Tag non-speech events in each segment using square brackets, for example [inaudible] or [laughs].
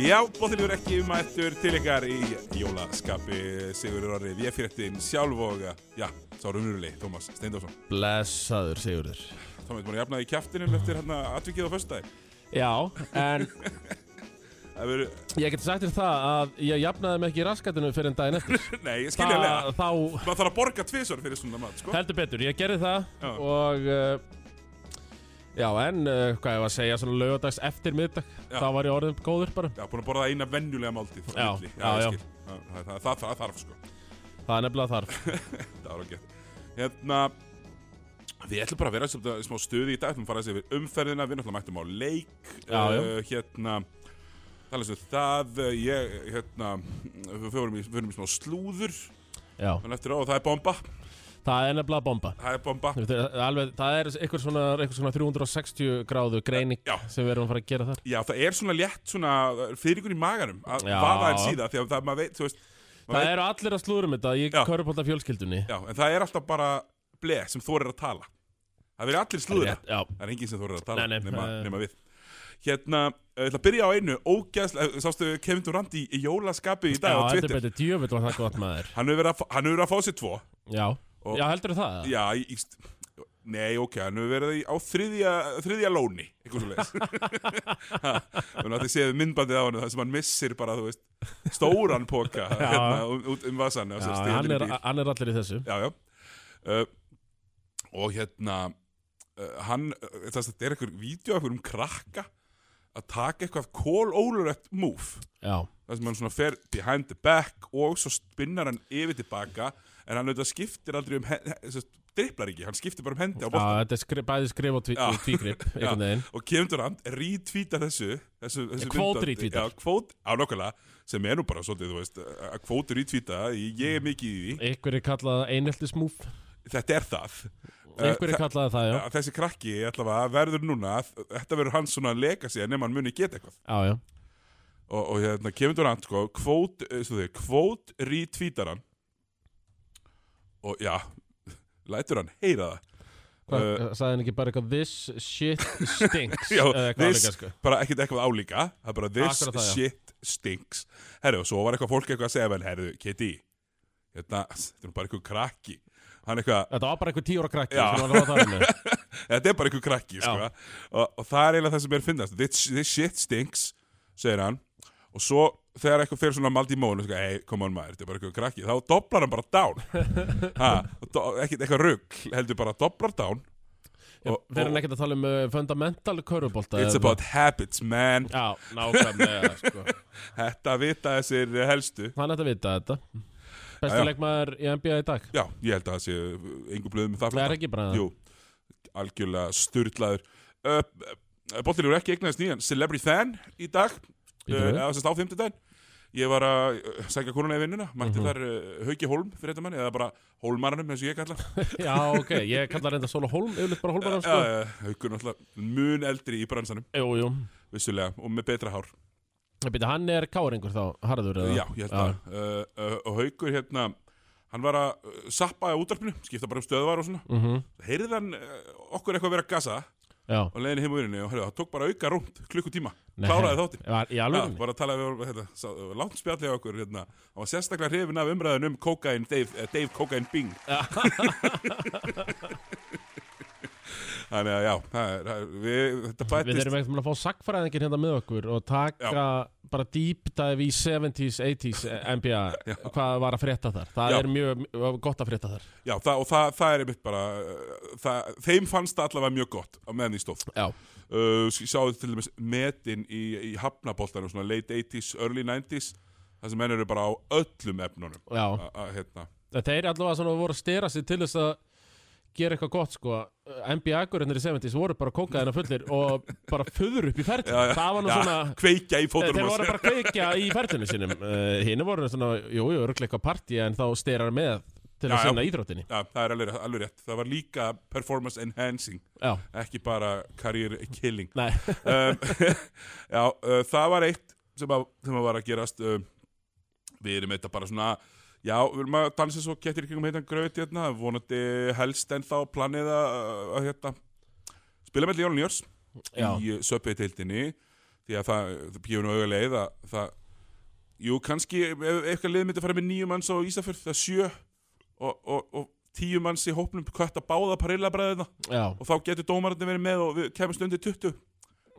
Já, bóttilegur ekki mættur til ykkar í jólaskapi Sigurður Orri, ég fyrir eftir sjálf og eh, já, sá raunurulegi, Tómas Steindófsson Blessaður, Sigurður Tómas, maður jafnaði í kjæftinum eftir hérna atvikið á föstudagi Já, en Það verður, [laughs] ég geti sagt þér það að ég jafnaði mig ekki í raskatinu fyrir en daginn eftir [laughs] nei, ég skilja lega Þá, Maður þarf að borga tvisvar fyrir svona mat, þá sko heldur betur, ég gerði það Já. og uh, Já, en uh, hvað ég var að segja, svona lögadags eftir miðdag, Já. þá var ég orðin góður bara. Já, búin að borða eina venjulega máltíð frá Já, milli. já, ég já. skil. Já, Það, það, það, það þarf, sko Það er nefnilega þarf. Það var ekki Hérna Við ætlum bara að vera svolítið að smá stuði í dag, við fara að segja við umferðina, við náttúrulega mættum á leik, Já, já. eh, hérna, talaðum við það, eh, ég, hérna, við fórum í, fórum í smá slúður, Já, þannig eftir á og það er bomba, það er nefnilega bomba. það er bomba, Þetta er Alveg, það er einhver svona, einhver svona 360 gráðu greining Já. sem við erum að fara að gera þar. já það er svona létt svona fyrirgur í maganum að Já. vaða en síða, því að það, maður veit, þú veist, maður Það eru allir að slúðurum þetta í Já. körupólta fjölskyldunni. já, en það er alltaf bara bleh sem þorir að tala, það verður allir slúðra. Rétt, Já, Það er enginn sem þú að tala Nei, nei, nema, eh. nema við Hérna, ég ætla að byrja á einu Ógæðslega, sástu Kevin Durant í, í jólaskapi í dag á Já, heldur Twitter betur, djöfull var það gott maður Hann hefur verið að, fá- hann hefur verið að fá sér tvo Já, Og- já heldur það? Já, í, í, nei, ok, hann hefur verið í- á þriðja, þriðja lóni Eitthvað svo leis [laughs] Þannig að þið séð myndbandið á hann Það sem hann missir bara, þú veist Stóran póka hérna, um, út um vasan já hann, er, hann er allir í þessu já, já. Uh, og hérna uh, hann, uh, þess að þetta er einhver vídeo af einhverjum krakka að taka eitthvað kólólurett move Já, þar sem hann svona fer behind the back og svo spinnar hann yfir tilbaka en hann auðvitað skiptir aldrei um he- he- sem sagt, dribblar ekki, hann skiptir bara um hendi á já bóttan þetta er skri, bæði skrif og tví, [laughs] Já. tvígrip einhvern veginn og Kevin Durant retweetar þessu, þessu, þessu Quote myndbandi. retweetar. já, kvót, á nokkulega, sem er nú bara svolítið, þú veist, að kvót retweeta ég er mikið í því, Ykkur er kallað einheltismúf þetta er Eh, það Eh, Ykkur er kallað það, já að þessi krakki allavega verður núna þetta verður hans svona legacy að nema hann muni geta eitthvað Já, já, og, og hérna kemur Durant sko kvót, eh, svo þið, kvót retweetar hann og já lætur hann heyra það hvað, Eh, sagði hann ekki bara eitthvað This shit stinks [laughs] já, eða eitthvað this, alveg, sko. bara ekkert eitthvað álíka það er bara this Akkurat það, já. shit stinks herru og svo var eitthvað fólk eitthvað að segja vel herru Kitty hérna, þetta er nú bara eitthvað krakki hann eitthvað Þetta var bara eitthvað tíu ára krakki Já. sem var að um. ráða [laughs] þar með Þetta er bara einhver krakki, sko. Já. Og, og það er eiginlega það sem er finnast. This, this shit stinks, segir hann. Og svo þegar eitthvað fyrir svona maldi í móðinu, sko, hey, come on maður, þetta er bara einhver krakki. Þá doblar hann bara down. [laughs] ha, do, ekkert eitthvað rugg, heldur bara doblar down. Og, Fyrir hann ekkert að tala um uh, fundamental körupólta it's about habits, man. Já, nákvæmlega, sko Þetta vita þessir helstu. Hann ætti að vita þetta Já, Besti já. leikmaður í NBA í dag Já, ég held að það sé einhver blöðum með það. Það flesta. er ekki bara Jú, algjörlega styrlaður. Uh, uh, Bóttilegur ekki eignaðist nýjan Celebrity Fan í dag Bíddu uh, við. eða sem stá fimmtudaginn ég var að uh, sækja konuna í vinnuna mætti Mhm. þar uh, Hauki Holm fyrir þetta manni eða bara Holmaranum eins og ég kalla [laughs] Já, ok, ég kalla reynda Sóla Holm, yfirleitt bara Holmaran, sko. uh, Haukur náttúrulega mun eldri í bransanum Jú, jú. vissulega og með betra hár Býta, hann er káringur þá, harður eða? já, ég held að uh, uh, og Haukur hérna hann var að uh, sappa á útarpinu skipta bara um stöðvar og svona Mm heyrði hann uh, okkur eitthvað vera að gassa Já, og leiðin heim á vinninni og hörðu, það tók bara auka rúmt klukkutíma Nei. kláraði þáttinn var í Já, alveg? bara að tala við hérna, sá, langt spjallið á okkur hérna. hann var sérstaklega hrifin af umræðin um Cocaine Dave, eh, Dave Cocaine Bing [laughs] þannig að já það er, það er, við, þetta Við bætist erum ekkert með að fá sagfræðingir hérna með okkur og taka bara deep dive í 70s, [laughs] 80s NBA, Já. hvað var að frétta þar. Það Já. er mjög mjög gott að frétta þar. já, það, og það, það er einmitt bara eh, það, þeim fannst það allavega mjög gott á meðan því stóð Já, uh, s- sjáðu til dæmis metin í, í hafnaboltanum svona late 80s, early 90s það sem menn eru bara á öllum efnunum já. að að, hérna, En Þeir allavega svona voru að stera sig til þess að gera eitthvað gott sko NBA-gurinnir í 70s voru bara kókaðina fullir og bara föður upp í ferð Já, já. það var nú Já, svona kveikja í Þeir fótunum á voru sér. bara að kveikja í ferðinu [laughs] sínum uh, Hinn voru svona, jú, jú, örglega eitthvað partí En þá styrar með til Já, að já. sinna íþróttinni Já, það er alveg, alveg rétt. Það var líka performance enhancing, Já, ekki bara career killing. [laughs] nei, um, já, uh, það var eitt sem, að, sem að var að gerast. Um, við erum þetta bara svona, Já, við erum að dansa svo kettir í kringum heitan gröð hérna, vonandi helst en þá planið að, að hérna, spila með Leon Jörs Já. í söpveiteildinni því að það, það býður nú auga leið að það, jú, kannski ef ef eitthvað lið myndi að fara með nýju manns á Ísafjörð, það er sjö og, og, og tíu manns í hópnum kvætt að báða parillabræðina já, og þá getur dómararnir verið með og við kemumst undir 20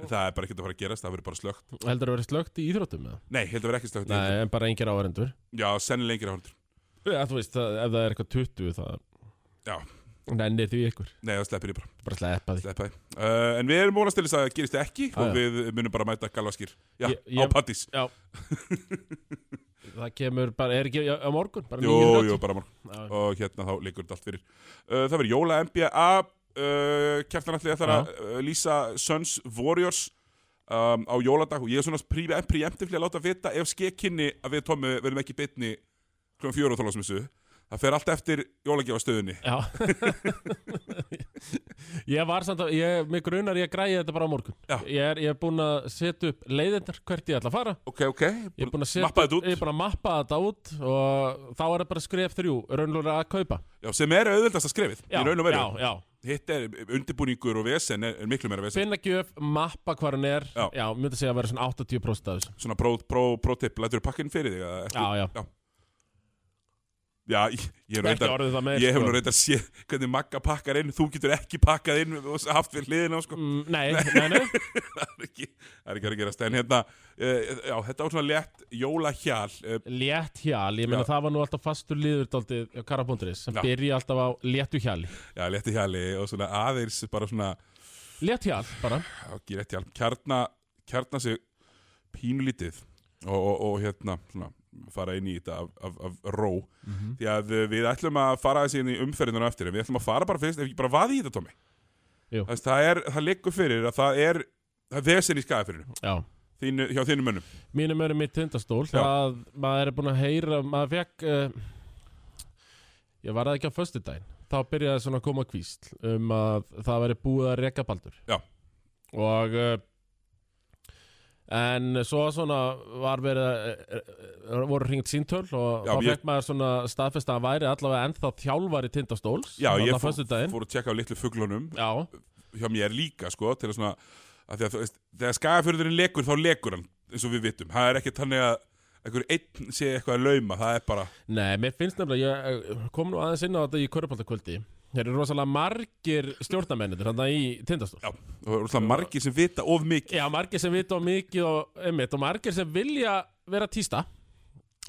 en það er bara ekkert að fara að gerast, það verður bara slögt heldur að vera slögt í íþróttum eða? Nei, heldur að vera ekki slögt í Nei, en bara engir áhærendur deildinni. Já, sennilega lengir áhundur Já, þú veist, það, ef það er eitthvað 20 það Já. Nennir því ykkur, Nei, það sleppir ég bara bara sleppa því Sleppa því. Uh, en við erum vonast til þess að það gerist ekki Já, og já. við munum bara mæta galvaskýr Já, Ég- ég- á pattís Já Það kemur bara, er ekki já, á morgun? Bara Jú, jú, bara morgun jú og hérna þá liggur þetta allt fyrir uh, Það verður Jóla NBA uh, Kjæftanalli ætlar að uh, lýsa Suns Warriors um, á jóladag og ég er svona prífi- preemptively að láta vita ef skekkinni að við Tommi verðum ekki bitni kljóðan fjóru og þálasmissu Það fer allt eftir jólagjáðastöðunni Já [laughs] Ég var samt að, ég, mig grunar ég græði þetta bara á morgun Já. Ég er, ég er búin að setja upp leiðindar hvert ég ætla að fara Ok, ok, Ég er búin að Mappa setja þetta út. Ég er búin að mappa þetta út og þá er það bara skref þrjú raunlóra að kaupa já, sem er auðvöldast að skrefið Já, í raun og veru, já, já hitt er undirbúningur og vesen er, er miklu meira vesen Finna gjöf, mappa hvað hann er Já. já myndi segja að vera svona 80% af þessu svona pró, pró, pró tip, lætur pakkinn fyrir þig eða ekki? Já, já já, ég, ég, hef nú Ekki reyndar, orðið það meir sko. ég hef nú reyndar séð hvernig Magga pakkar inn, þú getur ekki pakkað inn og haft við hliðina sko. Mm, Nei, nei, nei það er ekki það er ekki að gerast en hérna, uh, já, þetta var svona lett jólahjál uh, Létt hjal, ég meina Já. það var nú alltaf fastur liður daldið á Karabónduris sem Já. byrja alltaf á léttu hjali já, letti hjali og svona aðeins bara svona, Létt hjal bara já, ekki rétt hjál kjarna, kjarna sig pínulítið og, og, og hérna svona, fara inn í þetta af, af, af ró því að uh, við ætlum að fara þessi inn í umferðinu á eftir en við ætlum að fara bara fyrst, ef ekki bara vaði í þetta Tommy Jú. Þess, það er, það liggur fyrir að það er það er vesen í skæðafyrinu Já þínu, hjá þínum mönnum Mínum erum mitt tindastól Já. Það, maður er búin að heyra Maður fekk uh, Ég var það ekki á föstudaginn Þá byrjaði svona að koma kvísl Um að það væri búið að reka baldur Já. Og uh, En svo svona var verið að eh, eh, voru hringt síntöl og Já, þá ég- fekk maður svona staðfest að hann væri allavega ennþá þjálfari tindastóls Já, ég fór, fór fór að tjekka á litlu fuglunum Já, hjá mér líka sko til að svona að því að, þú veist, þegar skæðafyrinu legur þá legur hann eins og við vitum, það er ekki þannig að einhver einn sé eitthvað að lauma það er bara, Nei, mér finnst nefnilega, ég eh, kom nú aðeins inn á þetta í Körbáltakvöldi Þeir eru rosalega margir stjórnarmennir hann í tindastól já, og það er margir sem vita of mikið Já, margir sem vita á mikið og, einmitt, og margir sem vilja vera tísta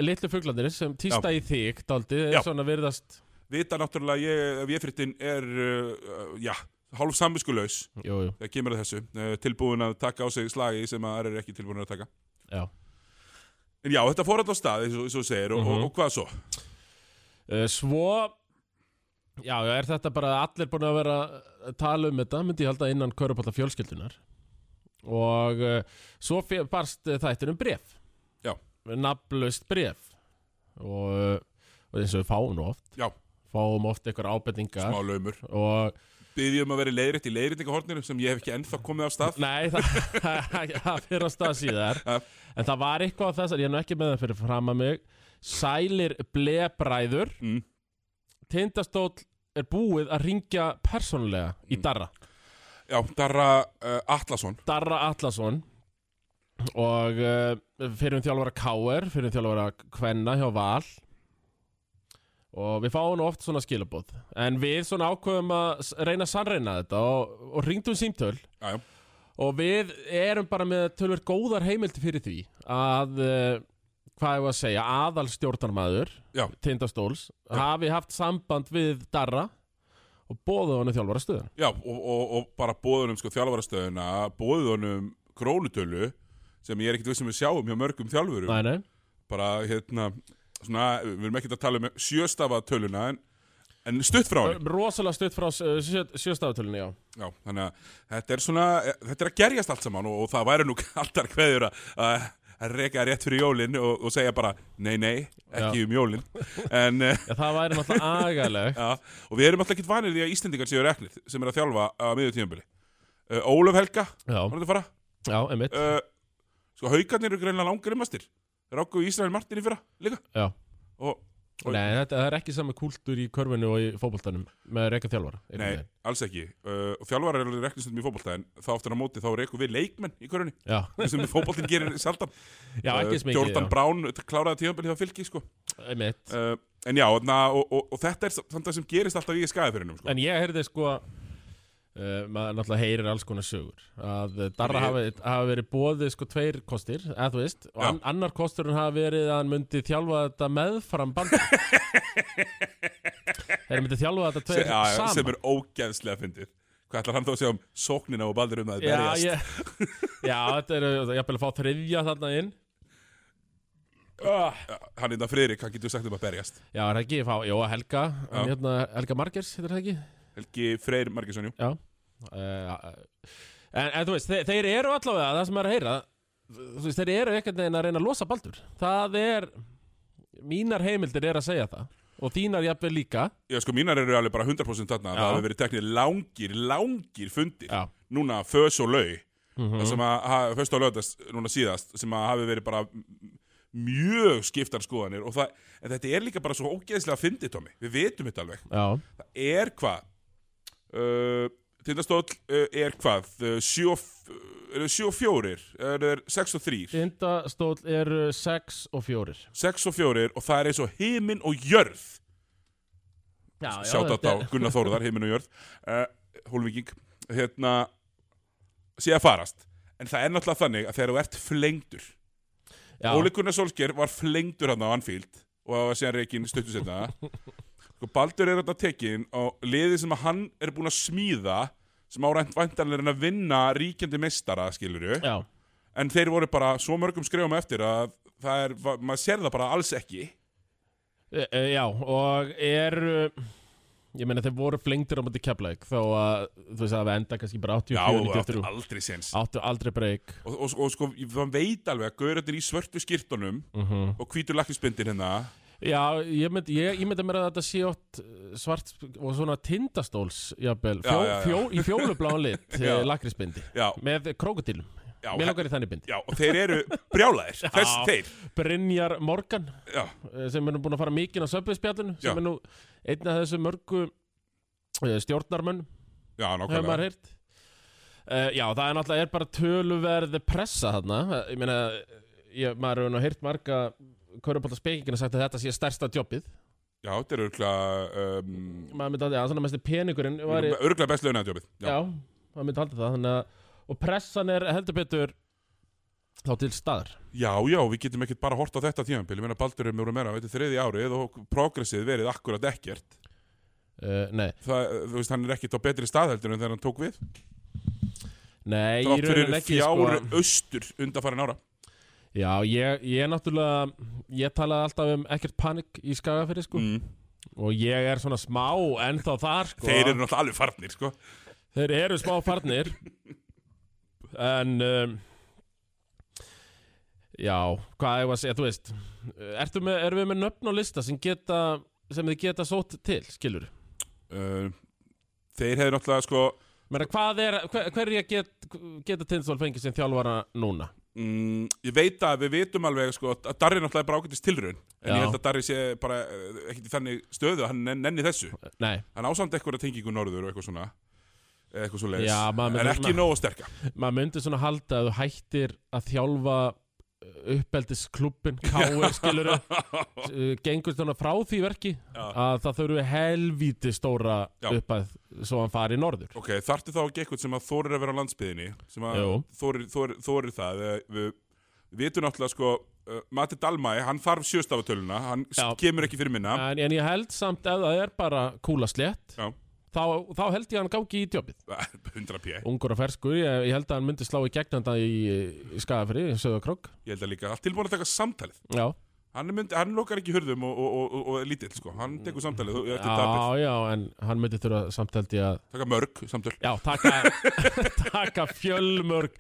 Litlu fuglandir sem tísta í þig daldi, Já. svona virðast vita náttúrulega ég, ef ég fyrirtin er uh, já, hálf samviskulaus Jú, jú, þegar kemur að þessu eh, tilbúin að taka á sig slagi sem að aðrir er ekki tilbúin að taka já en já, þetta fór alltaf stað, eins og- eins og þú segir og, og, Mhm. og hvað svo? Eh, Svo Já, já, er þetta bara að allir búin að vera að tala um þetta, myndi ég halda innan Körbálta fjölskyldunar og uh, svo fe- barst eh, þættinum bref Já. Nafnlaust bref og, eh, og eins og við fáum nú oft Já. Fáum oft einhver ábendingar smá laumur, og byggjum að vera leiðrétt í leiðréttingahorninu sem ég hef ekki ennþá komið af stað nei, það, [laughs] það fyrir að stað síðar Já. en það var eitthvað á þessar, ég er nú ekki með það fyrir fram að mig Sælir blebræður Mm. Tindastóll er búið að ringja persónulega í Darra já, Darra uh, Atlason Darra Atlasson og uh, fyrir um þjálfara K.R. fyrir um þjálfara Kvenna hjá Val og við fáum nú oft svona skilabóð en við svona ákveðum að s- reyna að sannreina þetta og, og ringdum símtöl já, já, og við erum bara með tölver góðar heimildi fyrir því að uh, hvað ég var að segja, aðal stjórnarmæður Já. Tindastóls hafi haft samband við Darra og bóðið honum þjálfara stöðun já og, og, og bara bóðunum sko þjálfarastöðuna bóðunum krónutölu sem ég er um ekkit vissum við sjáum hjá mörgum þjálfurum Nei, nei bara hérna svona, við erum ekkit að tala um sjöstafa töluna en, en stutt frá henni rosalega stutt frá eh, sjöstafatölinni, já Já, þannig að þetta er svona, þetta er að gerjast allt saman og, og það væri nú [laughs] kaldar kveður að, að að reka rétt fyrir jólin og, og segja bara nei, nei, ekki um jólin en, eh, Já, það væri [laughs] náttúrulega agaleg já, og við erum alltaf ekkert vanir því að Íslendingar séu reknir sem er að þjálfa á miður tíðanbili uh, Ólöf Helga, Já, var þetta að fara já, einmitt uh, sko, haukarnir eru greinlega langrimastir ráku Ísrael Martin í fyrra líka Já, og Og- Nei, þetta það er ekki saman kúltúr í körfinu og í fótboltanum með reyka þjálfara einhvern Nei, veginn. alls ekki uh, og Þjálfar er alveg reknistundum í fótbolta en þá aftur á móti þá reyku við leikmenn í körunni Já, sem fótboltin gerir sjaldan [laughs] já ekki eins Uh, mikið Jordan Brown kláraði tíðanbili hjá fylki sko. já. Einmitt. uh, En já, na, og, og, og þetta er samt það sem gerist alltaf í skæðafyrinum sko. En ég heyrði sko uh, maður náttúrulega heyrir alls konar sögur að eh, Darra En hafi, hafi verið bóðið sko tveir kostir, eða þú veist og Já. an, annar kosturinn hafi verið að hann myndi þjálfa þetta meðfram [laughs] bandi Þeir myndi þjálfa þetta Se, tveir já, já, saman sem er ógeðslega fyndið Hvað ætlar hann þá að segja um sóknina og baldur um að Já, berjast? ég, já, þetta er jafnvel að fá þriðja þarna inn Já, Hann innan Friðrik, hann getur sagt um að berjast Já, er það ekki, ég fá, jó, Helga hann, Já. hérna, Helga Margers, heitir það ekki Helgi Freyr Margesson, jú Já uh, en, en þú veist, þeir, þeir eru allavega það sem er að heyra þú veist, þeir eru ekkert neginn að reyna að losa Baldur það er, mínar heimildir er að segja það og þínar jafnvel líka Já, sko, mínar eru alveg bara 100% þarna Já. Það hefur verið teknir langir, langir fundir Já, Núna, fös og lau mm það sem að, ha- föstu á lögðast núna síðast sem að hafi verið bara m- mjög skiptar skoðanir og það, en þetta er líka bara svo ógeðslega fyndið, Tommy, við vitum þetta alveg já, það er hvað uh, Tindastóll uh, er hvað uh, sjö og f- eru sjö og fjórir eru þeir sex og þrýr tindastóll eru 6 og 4 sex og fjórir og það er eins og himin og jörð Já, já, sjátt þetta á er- Gunnar Þóruðar, himin og jörð uh, Hólvíking hérna sé að farast en það er náttúrulega þannig að þegar þú ert flengdur já, Óli Gunnar Solskjær var flengdur hann á Anfield og það var síðan reikinn stuttu setna [laughs] sko Baldur er þetta tekinn og liðið sem að hann er búinn að smíða sem árænt væntanlega er að vinna ríkjandi meistara, skilur við já, en þeir voru bara svo mörgum skrifum eftir að það er, va- maður sér það bara alls ekki e, e, já og eru ég meina þeir voru flengtir á mútið keflæk þó að þú veist að við enda kannski bara Já, og 84-93 aldrei séns áttu aldrei breyk og, og, og sko, það veit alveg að gaurarnir í svörtu skýrtunum mm og hvítur lakkisbindin hérna Já, ég myndi, ég, ég myndi mér að þetta sé oft eh, svart og svona tindastóls jafnvel, Já, fjó, já, já. Fjó, í fjólubláan lit [laughs] Já. lakrisbindi já, með krókutilum, já, mér langar í þannig bindi já, og þeir eru brjálæðir, þess Já. þeir Brynjar Morgan já, eh, sem er nú búin að fara mikinn á söpviðspjallinu sem Já. er nú einn af þessu mörgu eh, stjórnarmönnum já, hefur nákvæmlega maður heyrt uh, Já, það er náttúrulega er bara töluverð pressa þarna Eh, Ég meina, ég, maður hefur nú heyrt marga Körubólta spekingina sagt að þetta sé stærsta jobbið Já, þetta er örgulega um, maður myndi að það er svona mest peningurinn væri- örgulega best launaðjófið Já, það myndi halda það þannig að, og pressan er heldur betur þá til staðar já, já, við getum ekkert bara hort á þetta tímabil Ég meina Baldur er mjög meira, þetta er þriði árið og progressið verið akkurat ekkert uh, Nei, Það, þú veist, hann er ekkert á betri staðheldur en þegar hann tók við nei, í Þrátt fyrir rauninni ekki fjár sko, austur undanfærin ára Já, ég, ég náttúrulega ég talaði alltaf um ekkert panik í Skagafyrir sko mm. og ég er svona smá ennþá þar sko Þeir eru náttúrulega alveg farnir, sko Þeir eru smá farnir En um, Já, hvað er að segja, þú veist Ertu með, erum við með nöfn og lista sem geta sem þið geta sótt til, skilur uh, Þeir hefur náttúrulega, sko Meina, hvað er, hver, hverja get, geta Tindstól fengið sem þjálfara núna? mm, Ég veit að við vitum alveg, sko að Darri náttúrulega er bara ágætist tilraun En Já. ég held að Darri sé bara eh, ekkert í þannig stöðu að Hann nenn- nenni þessu Nei, hann ásamt eitthvað tengingu norður og eitthvað svona eða eitthvað svo Já, maður leiðis, myndi en ekki svona- nógu sterka maður myndi svona halda að þú hættir að þjálfa uh, [laughs] uppeldisklubin, káir, skilur Uh, gengur svona frá því verki að það þurfi helvíti stóra Já. uppæð svo hann fari í norður ok, þarftu þá ekki eitthvað sem að þorir að vera á landsbyðinni sem að Jú. þorir, þorir, þorir það eða við við vitum náttúrulega sko uh, Mati Dalmæ, hann þarf sjöstafatöluna hann s- Já. kemur ekki fyrir minna en, en ég held samt ef það er bara kúla slétt Já. þá, þá held ég að hann gangi í tjópið [laughs] 100 pjæ, ungur og ferskur, ég, ég held að hann myndi slá í gegnanda í, í skafri, í söðakrok ég held að líka allt tilbúin að taka samtalið, já, hann, er mynd, hann lokar ekki hurðum og, og, og, og, og er lítill sko, hann tekur samtalið og- eftir tapið, já, já, en hann myndi þurfa samt held ég að taka mörg samtöl já, taka, [laughs] taka fjölmörg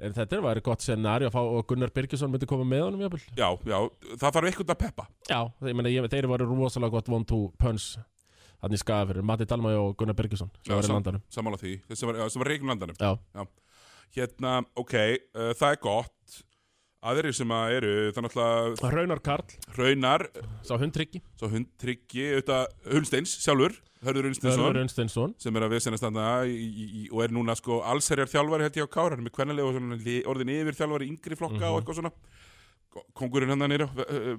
en þetta væri gott scenari að fá og Gunnar Birgisson myndi koma með honum jafnvel já, já, það þarf eitthvað að peppa já, ég meina, ég, þeir eru rosalega gott one two punch hann í skafri, Matti Dalmæ og Gunnar Birgisson Já, sem var í sam- landanum sammála því, þess sem var, já, sem var reikin landanum já, Hérna, ok, uh, það er eh, gott aðrir sem að eru, þannig að Raunar Karl, Raunar, sá hundtryggi svo hund Tryggi, auðvitað Hulsteins sjálfur, Hörður Hulsteinsson, Raunar Unsteinsson sem er að viðsennast þarna í, í, í, og er núna sko allserjar þjálfari held ég á Kára, hann er með kvennalega og svona li- orðin yfir þjálfari í yngri flokka og eitthvað svona Ko- hérna kongurinn hann nýra,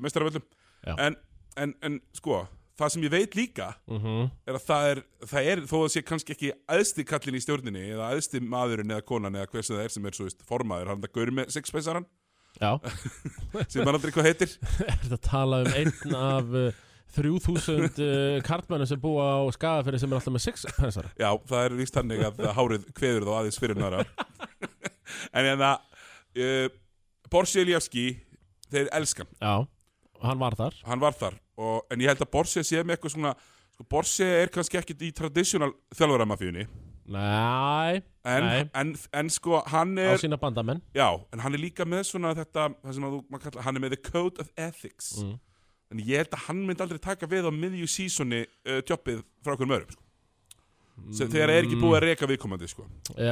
mestaraföllum Já. en, en, en sko það sem ég veit líka mm er að það er, það er þó að sé kannski ekki aðsti kallin í stjórninni eða aðsti maðurinn eða konan eða hversu það er sem er svo veist, formaður, hann það gaur með sixpæsaran Já, [laughs] sem hann aldrei hvað heitir er þetta að tala um einn af uh, 3000 uh, karlmennum sem búa á skafafyrir sem er alltaf með 6 pensara Já, það er víst hannig að hárið kveður þá aðeins fyrir nára [laughs] En en það uh, Borsi Eliaski þeir elskan, Já, hann var þar hann var þar og, en ég held að Borsi sé með eitthvað svona sko, Borsi er kannski ekkit í traditional þjálfaramafíunni Nei, en, Nei. en, en sko hann á er sína bandamenn Já, en hann er líka með svona þetta það sem að þú, maður kallar, hann er með the code of ethics Mm. en ég held að hann myndi aldrei taka við á miðju sísoni uh, tjoppið frá hverjum öðrum sko. mm. þegar er ekki búið að reka viðkomandi sko. Æ,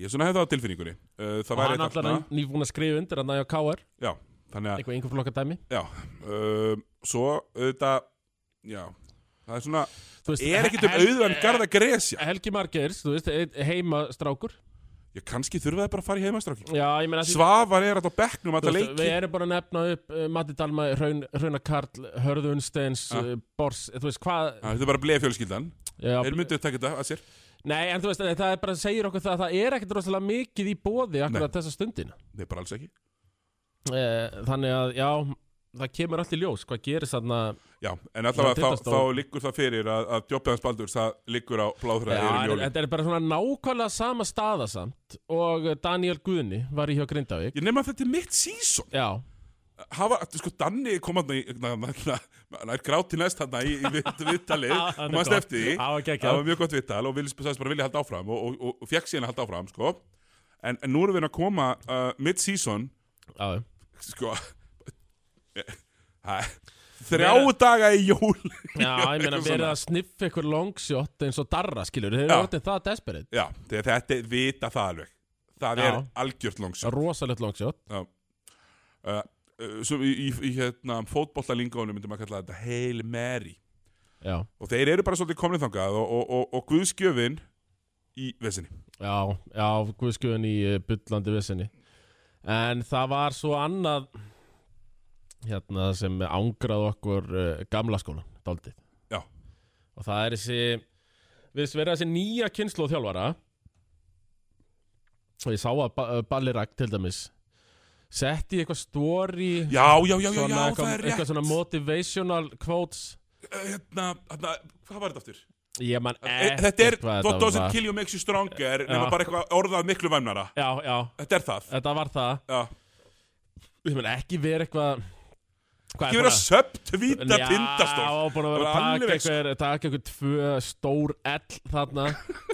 ég svona hefði það á tilfinningunni uh, Og það væri hann um- eitthvað allar svona- nýbúin að skrifa undir að næja á KR já, þannig að Eitthvað einhver flokka dæmi já, uh, svo auðvitað já, það er svona Þú veist, er ekkit um Hel- auðvönd garda gresja Helgi Margeirs, þú veist, einn heimastrákur já, kannski þurfa það bara að fara í heimastráki Já, ég meina því- Svavar er alltaf á bekknum Þú alltaf veist, leiki Við erum bara að nefna upp uh, Matti Dalma, Raun, Rauna Karl, Hörðu Unsteins, Ah. uh, Bors, þú veist hvað Það er bara bleið fjölskyldan já, Þeir myndu að taka þetta að sér Nei, en þú veist, en það er bara að segja okkur það að það er ekkert rosalega mikið í bóði akkurat þessa stundina Nei, bara alls ekki eh, Þannig að, já, það kemur allt í ljós hvað gerist þarna Já, en allavega Já, þá, Tindastól. þá liggur það fyrir að, að Djóppiðans Baldur það liggur á bláþræði Já, yfir um en jólin. Þetta er bara svona nákvæmlega sama staða samt og eh, Daniel Guðni var í hjá Grindavík Ég nefna þetta er mitt sísón. Já, Hafa, sko, Danni kom hann í, hann er gráti næst hann í, í vitt- viðtalið, Já, [laughs] hann er og maður gott. eftir því. það var geggjað. Það var mjög gott viðtal og viljast sagðist bara vilja halda áfram og, og, og, og fekk síðan að halda áfram, sko. En, en nú erum við að koma uh, mitt sísón, Já, sko, hæ, þrjá daga í jól. já, ég meina Eitthvað verið svona. að sniffa ykkur longshot eins og darra, skilur, þeir eru Já. orðin það desperate, Já, þegar þetta vita það alveg. Það er Já. algjört langsjón. rosalegt longshot uh, uh, sem í, í, í hérna, fótbollalingónu myndum að kalla þetta Hail Mary Já, og þeir eru bara svolítið komnið þangað og, og, og, og Guðskjöfin í vesinni já, já, guðskjöðun í eh, bullandi vissinni En það var svo annað hérna sem ángraði okkur uh, gamla skólan, daldið Já. Og það er þessi, við verið þessi nýja kynslu þjálfara Og ég sá að ba Ballirak til dæmis Setti í eitthvað stóri já, já, já, já, já, svona, það er rétt eitthvað svona motivational quotes Uh, hérna, hérna, hvað var þetta aftur? ég man Eh, ekkert þetta er, hvað what þetta doesn't var. kill you makes you stronger nema Já. bara eitthvað orðað miklu væmnara já, já, þetta er það þetta var það já. ég man ekki verið eitthvað hvað ekki verið að söptvíta tindastól já, búin að Það vera var að taka alveg- eitthvað taka eitthvað tvö stór ell þarna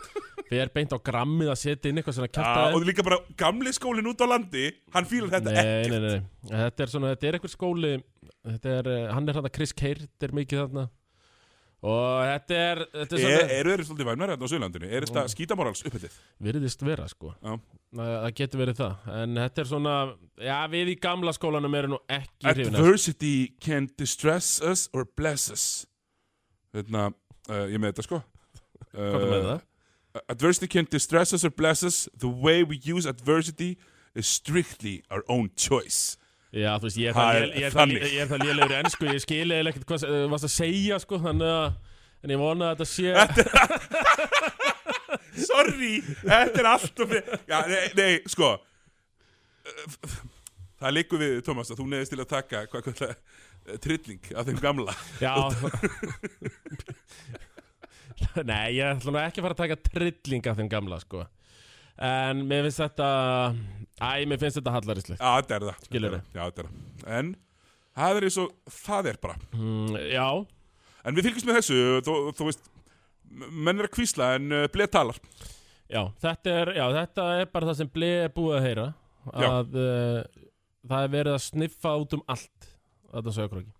[laughs] við erum beint á grammið að setja inn eitthvað svona Já, kjartaði og líka bara gamli skólinn út á landi hann fílar þetta nei, nei, nei, nei, þetta er svona þetta er eitthvað skóli þetta er, eh, hann er þarna Chris Keir þetta er mikið þarna og þetta er, þetta er ekki eru þeir svolítið væmnari hérna á Suðlandinu er þetta skítamorals upphittið virðist vera sko Já. Þa- það getur verið það en þetta er svona já við í gamla skólanum erum nú ekki hrifin af Adversity can distress us or bless us Þetta, uh, ég með þetta sko Eh, hvað er með það Adversity can distress us or bless us The way we use adversity is strictly our own choice já þú veist ég er Það það er lél- ég er það þannig. lé- ég er það lélegur enn sko ég skil eða ekkert hvað uh, varst að segja sko þannig að en ég vona að þetta [laughs] sé Sorry, þetta er allt og fyrir Já, nei, nei, sko Það liggur við, Thomas, að þú nefðist til að taka hvað kallar trilling af þeim gamla já [laughs] nei ég ætla nú ekki að fara að taka trilling af þeim gamla sko en mér finnst þetta æ mér finnst þetta hallarislegt Já, þetta er það Skilurðu. Já, þetta er það En það er eins og, það er bara mm, já En við fylgjumst með þessu, þú, þú veist, m- menn er að kvísla en uh, bleið talar. Já, þetta er, já, þetta er bara það sem bleið er búið að heyra Já. að uh, það er verið að sniffa út um allt þetta sögur ekki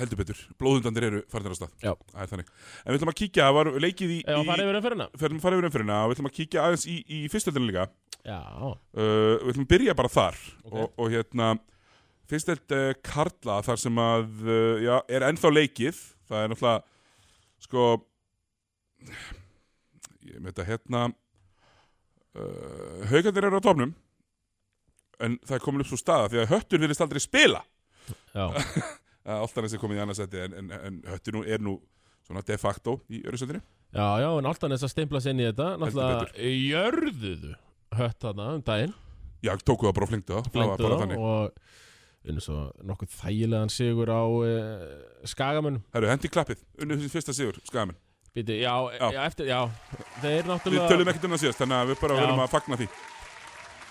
Heldur betur, blóðundandir eru farinir á stað. Já. Það er þannig. En við ætlum að kíkja, það var leikið í... Já, farið yfir um fyrir hana Fyrir, farið yfir umfyrirna og við ætlum að kíkja aðeins í, í fyrstöldinu líka. Já, uh, við ætlum að byrja bara þar Ok. og, og hérna fyrst held uh, Karla þar sem að uh, já, er ennþá leikið það er náttúrulega sko ég með þetta hérna uh, haugandir eru á tómnum en það er komin upp svo staða því að höttur virðist aldrei spila Eh, já, að Altanes er komið í annarsetti en, en, en höttur nú er nú svona de facto í örusettinu já, já, en alltaf þess að stimpla sig inn í þetta Náttúrulega jörðuðu hött þarna um daginn já, tókuðu það bara og flengtu það það var Blengdu bara þá þannig og unnu svo nokkuð þægilegan sigur á e, skagamunum Herru, hendi klappið, unnið þessi fyrsta sigur, skamin Býti, já, Já. já. eftir, já Þeir Við náttúrulega tölum ekkert um það síðast, þannig að við bara Já. verðum að fagna því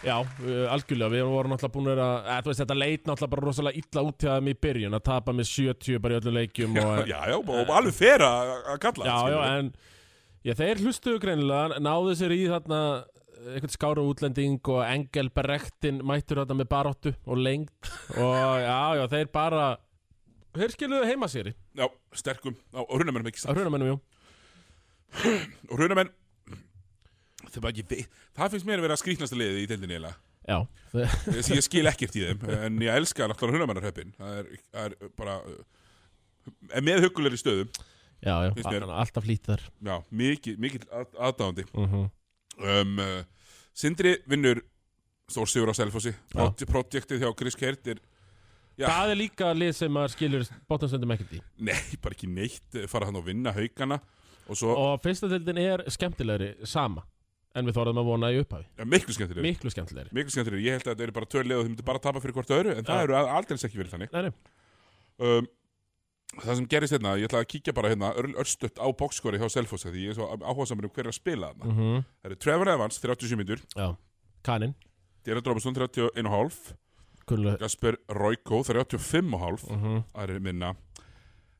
Já, uh, algjörlega, við vorum náttúrulega búin að eða, þú veist, Þetta leit náttúrulega bara rosalega illa út til þeim í byrjun Að tapa með 70 bara í öllum leikjum Já, og, já, já og og alveg fer að að kalla já, já, skilurðu. en já, Þeir hlustuðu greinilega, náðu sér í þarna eh, einhvern skáru útlending og Engelberektin mættur þarna með baróttu og lengt og já, já, þeir bara þeir skiluðu heima sér í já, sterkum, já, og runamenn ekki að satt hruna mennum, jú Og runamenn, þau bara ekki veit Það finnst mér að vera skrýtnasta liðið í deildinni eiginlega. Já, þeir, Þessi ég skil ekkert í þeim En ég elska náttúrulega runamennarhöppin Það er, það er bara uh, en með hugulegri stöðum já, já, Finnst mér. alltaf flýtt þar Já, mikið, mikið aðdáðandi mm um, uh, Sindri vinnur Stór sigur á Selfossi Já. Proj- Projektið hjá Chris Kert er Já. Það er líka lið sem maður skilur bóttanstundum ekkert í Nei, bara ekki neitt eh, fara hann og vinna haugana og svo, Og fyrsta deildin er skemmtilegri sama En við þorðum að vona í upphafi ja, miklu skemmtilegri Miklu skemmtilegri miklu skemmtilegri, ég held að þetta eru bara törlega og þau myndu bara að tapa fyrir hvort öðru, en það Já. eru al- aldrei ekki verið þannig Nei, nei, um, það sem gerist hérna, ég ætla að kíkja bara hérna örl örstutt á bókskori hjá Selfoss því ég er svo áhuga saman um hver er að spila þarna mm það eru Trevor Evans, 37 minnur, já Kanin, Dera Drobesson, 31,5 kunnuleg Gasper Royko, 35,5 mm -hmm. það eru minna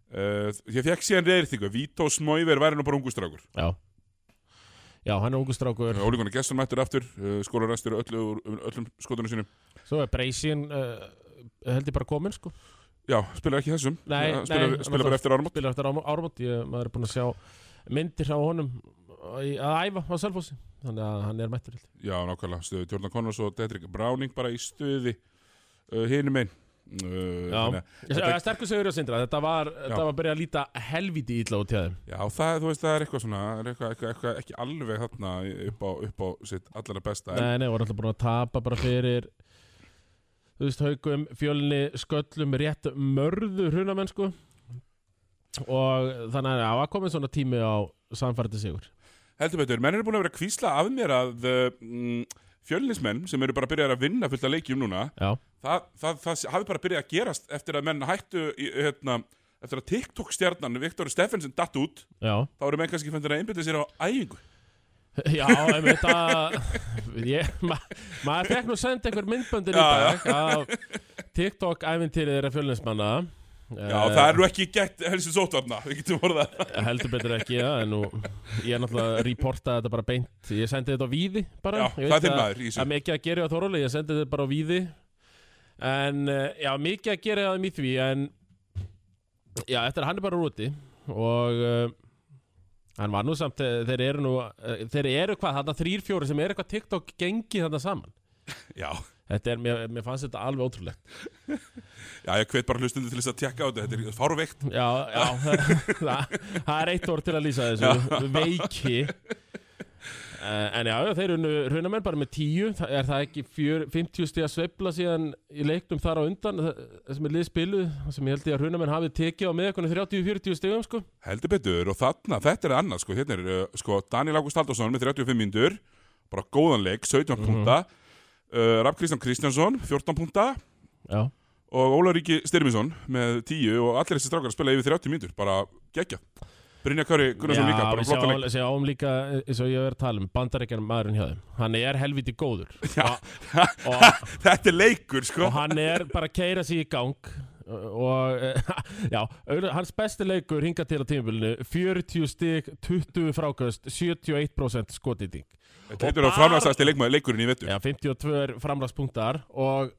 uh, ég fekk síðan reyðir Vító Smóiver væri nú bara ungustrákur Já Já, hann er ungu strákur Ólíkunar Gesson mættur aftur, uh, skólar restur öllu, úr- úr öllum skotunum sínum Svo er Breysín uh, held ég bara komin sko Já, spilar ekki þessum Nei, Já, nei, Spilar, hann spilar alltaf- bara eftir áramót Spilar eftir árm- áramót ég, Maður er búinn að sjá myndir á honum í- Að æfa á Selfossi Þannig að hann er mættur held ég. Já, nákvæmlega, stöðu Jordan Connors og Dedrick Browning bara í stöði uh, hinum einn uh, Já. þannig að- Ég Þetta- segi, Sterkur segur á Sindra Þetta var, þetta var að byrja að líta helviti ítla út hjá þeim Já, það, þú veist, það er eitthvað svona er eitthvað, eitthvað, eitthvað ekki alveg þarna upp á, upp á sitt allra besta en, Nei, nei, voru alltaf búin að tapa bara fyrir Þú veist, haugum, fjölni, sköllum, rétt mörðu hrunamenn, sko Og þannig að það var komin svona tími á samfærdi sigur Heldur betur, menn eru búin að vera að kvísla af mér að uh, mm, fjölnismenn sem eru bara að byrja að vinna fullt að leikjum núna Já, það, það, það hafi bara byrjað að gerast eftir að menn hættu í, hérna, eftir að TikTok-stjarnan Viktor Steffensen datt út já, þá eru menn kannski fendur að einbyrja sér á æfingu já, ég veit að ég, ma Maður fekk nú senda einhver myndböndin í Já, dag Af TikTok-ævintýrið þeirra fjölnismanna Já, Eh. það er nú ekki gætt helstu sótvarna, við getum orðað það. Heldur betur ekki, já, en nú Ég er náttúrulega reportaði þetta bara beint Ég sendi þetta á víði bara Já, Ég það er veit þinn að- maður í Það er þessu. mikið að gera á Þorvali, ég sendi þetta bara á víði En eh, já, mikið að gera á þeim í því En já, eftir að hann er bara úti Og uh, hann var nú samt eh, Þeir eru nú, eh, þeir eru hvað Þarna þrýr fjóri sem eru eitthvað TikTok gengi þarna saman Já, Þetta er, mér, mér fannst þetta alveg ótrúlegt já, ég hvet bara hlustundu til þess að tjekka á þetta, þetta er fárveikt. Já, [laughs] já, það, það er eitt orð til að lýsa þessu Veiki Eh, En já, já, þeir eru raunamenn bara með tíu Þa- Er það ekki fjör, 50 stíð að sveifla síðan í leiknum þar á undan Það það sem er liðspiluð það sem ég held ég að raunamenn hafið tekið á með 30-40 stíðum sko. Heldur betur og þarna, þetta er annað, sko, hérna er, uh, sko, Daniel Ágúst Halldórsson með 35 mínútur, bara góðan leik, 17 Mhm. púnta, uh, Rapp Kristján Kristjánsson, 14 púnta Já, og Óla Ríki Styrminsson með 10 og allir þessi strákar að spila yfir 30 mínútur, bara gegja. Brynja Kari Gunnarsson líka, bara við flotta leik. sjáum, sjáum líka eh, eins og ég hef verið að tala um Bandaríkjan maðurinn hjá þeim Hann er helviti [laughs] góður Já. Og- og, [laughs] þetta er leikur, sko. sko. og hann er bara að keira sig í gang og eh, [laughs] já, auðvitað, hans besti leikur hinga til á tímabilinu 40 stig, 20 frákast 71% skotýting Þetta heitur að bara- framlæsast í leikurinn í vettur. já, 52 framlagspunktar og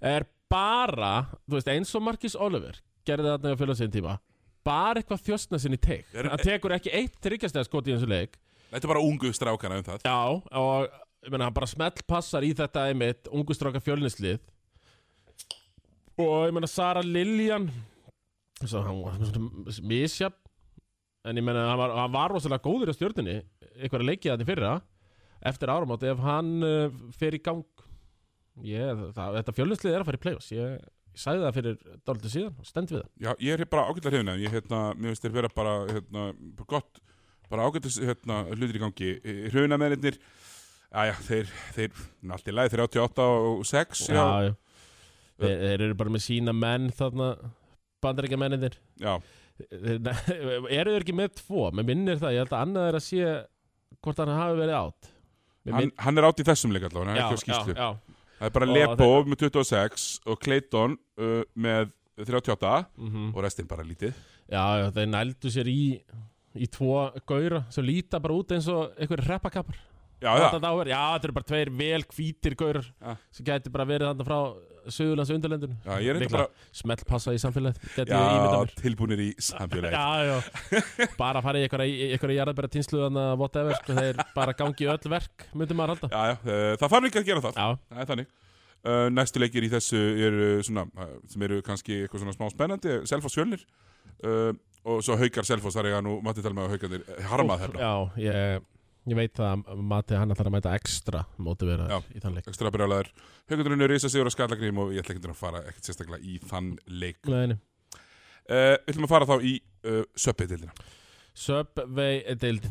er bara þú veist, eins og Marcus Oliver gerði þarna í að fjöla sinn tíma bara eitthvað þjóstna sinni teik Er- hann tekur ekki eitt tryggjastega skot í þessu leik Þetta er bara ungu strákana um það. já, og ég meina, hann bara smellpassar í þetta einmitt ungustráka fjölnislið og ég meina Sara Liljan svo hann var svona misjafn en ég meina hann var, hann var rosalega góður á stjórninni einhverja leikið þannig fyrra eftir áramót ef hann uh, fer í gang ég, það, þetta fjölnislið er að fara í play-offs ég, ég sagði það fyrir dálítið síðan og stend við það Já, ég er bara ágætlega hrifin af þeim. Ég, hérna, mér finnst þeir vera bara, hérna, bara gott, bara ágætlega hérna, hlutir í gangi. Hrifin af meðlirnir, aðja, þeir, þeir, ná, allt í lagi, 38 og 6, já, já, já. Þeir, þeir eru bara með sína menn þarna bandaríkja menninir já, [laughs] eru þau ekki með tvo, mér minnir það ég held að annað er að sé hvort hann hafi verið átt Mér Hann, minn- hann er átt í þessum leik allavega, hann er já, ekki á skýslu. já, Það er bara Og Lepo með 26 og Clayton uh, með 38 já. mhm. og restinn bara lítið. já, já, þeir nældu sér í í tvo gauðra sem líta bara út eins og einhverjir reppakappar Já, já, Ah, já, þetta eru bara tveir vel hvítir gauðrar Já. sem gæti bara verið þarna frá sögurlands undarlendun já, ég er Líklega. eitthvað smelt passa í samfélagið gæti ég ímyndað bara mér já, tilbúinir í samfélagi. Já, já, [laughs] bara fara í einhverja, einhverja jarðabæra tínslu þannig að whatever, sko, þeir bara gangi í öll verk, myndum maður halda. Já, já, uh, það þarf ekki að gera það. Já, Það er þannig. Uh, næstu leikir í þessu eru svona, uh, sem eru kannski eitthvað svona smá spennandi, Selfoss fjölnir uh, og svo haukar Selfoss, þar er ég að nú mati tala með að haukarnir eh, harmað hefna. Já, ég, ég veit það að Mati hann ætlar að mæta ekstra móti vera Já. í þann leik Ekstra brjálæður. Haukarnir eru í þessu sigur að skallagrým og ég ætla ekki að fara ekkert sérstaklega í þann leik. Leðinu. Uh, við ætlum að fara þá í uh, söpbeitildina. Subway deild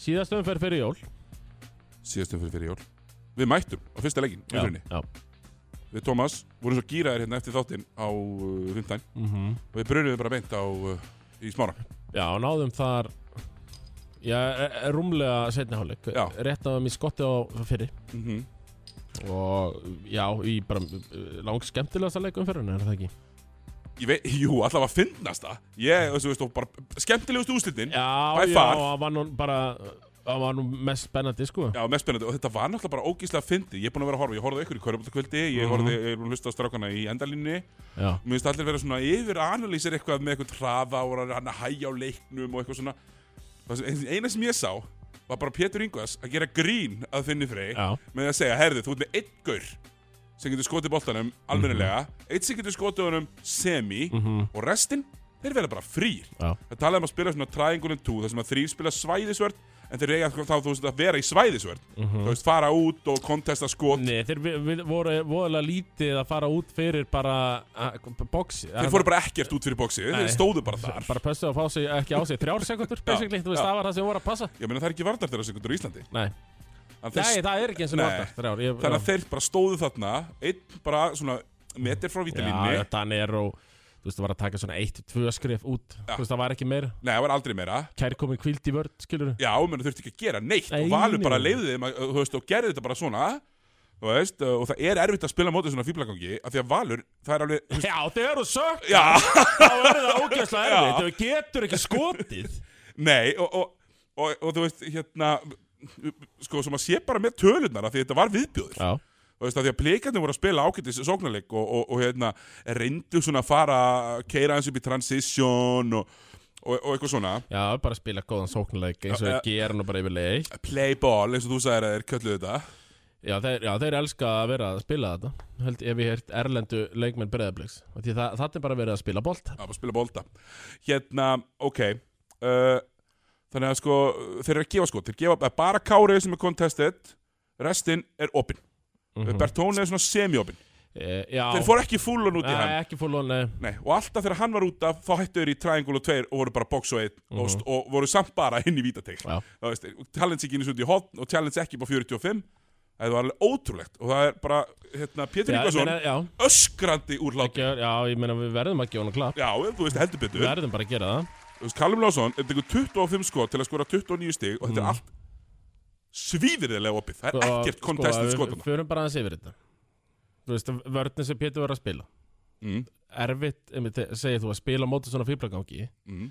Síðast umferð fyrir jól síðastum fyrir fyrir jól Við mættum á fyrsta leikin Já, umfyrinni já. Við Tómas vorum svo gýraðir hérna eftir þáttinn á uh, 15 Mhm. og við brunuðum bara beint á uh, í smára já, náðum þar Já, r- rúmlega setni hálfleik Já. Rétt náðum í skotti á fyrir mm Og já, í bara lang skemmtilegasta leik umferðin er það ekki Ég veit, jú, allavega að finnast það Ég, þú veist, og bara skemmtilegustu úslitin Já, By já, far. hann var nú bara Hann var nú mest spennandi, sko Já, mest spennandi og þetta var náttúrulega bara ógíslega fyndið Ég er búin að vera að horfa, ég horfði á ykkur í Körbjöldaskvöldi Ég Mhm. horfði, ég er búin að hlusta á strákana í endalínni Já, Mér finnst allir vera svona yfir að analýsir eitthvað með eitthvað trafa og hann að hæja á leiknum og eitthvað svona Það sem- Eina sem ég sá var bara Pétur Ingvars að gera grín að finni frey já, með að segja, herðu, þú ert með einn gaur sem getur skotið boltanum Mhm. almennilega einn sem getur skotið honum semi og restinn, þeir verða bara frýr já, það talaði um að spila svona triangulin 2 þar sem að þrýr spila svæðisvörð en þeir eiga þá þú veist að vera í svæðisvörð þú veist, fara út og kontesta skot Mhm. Nei, þeir vi- vi- voru voðalega lítið að fara út fyrir bara boxi þeir fóru bara ekkert út fyrir bóksið, Nei. þeir stóðu bara þar Bara pössu að fá sig ekki á sig Þrjár sekundur, basically, þú veist, [laughs] já. það var það sem voru að passa ég meina það er ekki vartar þeirra sekundur í Íslandi Nei, Þannig að Nei þeir- það er ekki eins og Nei. vartar Þrjár, ég þannig að þeir bara stóðu þarna einn bara svona metir frá Já, vítalínni þetta er og Þú veist, það var að taka svona eitt, tvö skrif út Já. Þú veist, það var ekki meira nei, það var aldrei meira Kærkomin kvíld í vörð, skilur Já, menn þurfti ekki að gera neitt Nei, og Valur nei. bara leiði þeim að, þú veist, og gerði þetta bara svona þú veist, og það er erfitt að spila mótið svona fýblagangi af því að Valur, það er alveg þú [laughs] veist, Já, þegar þú sökk Já, Þá er það ógæslega Já. erfið Þú getur ekki skotið [laughs] nei, og, og, og, og þú veist, hérna sko, sem að sé bara með tölurnar af því að þetta var viðbjóður Já, þú veist, af því að pleikarnir voru að spila ágætis sóknarleik og, og, og hérna, reyndu svona að fara keira eins upp í transition og, og, og eitthvað svona já, bara spila góðan sóknuleik eins og Já, ég ger nú bara yfirleitt play ball, eins og þú sagðir að þeir kölluðu þetta Já, þeir, já, þeir elska að vera að spila þetta Held ég hef ég heyrt erlendu leikmenn breyðabliks Því það, það er bara verið að spila bolt Já, bara spila bolta Hérna, ok uh, Þannig að sko, þeir eru að gefa sko Þeir gefa eh, bara Kárið sem er contested Restin er opinn mm Bertone er svona semi-opinn e, Já, Þeir fóru ekki fullan út í Nei, hann ekki fólón nei. Nei, og alltaf þegar hann var út af þá hættu þeir í triangle og tveir og voru bara box og einn Mhm. og, st- og voru samt bara inn í vítategl Já. Þá veist, challenge ekki inn í svo út í hotn og challenge ekki bara 45 Það var alveg ótrúlegt og það er bara, hérna, Pétur Já, ég Ingvarsson meina- já, öskrandi úr hlátt ekki, já, ég meina við verðum að gefa hann klap Já, þú veist, heldur betur Við verðum bara að gera það Þú veist, Callum Lawson er tekur 25 skot til að skora 29 stig og Mhm. þetta er allt svíðirðilega opið. Það er Og, sko, ekkert contested við- skotana. Við förum bara aðeins yfir þetta Þú veist, vörðin sem Pétur var að spila Mm, Erfitt, einmitt, segir þú að spila á móti svona fýblagangi mm,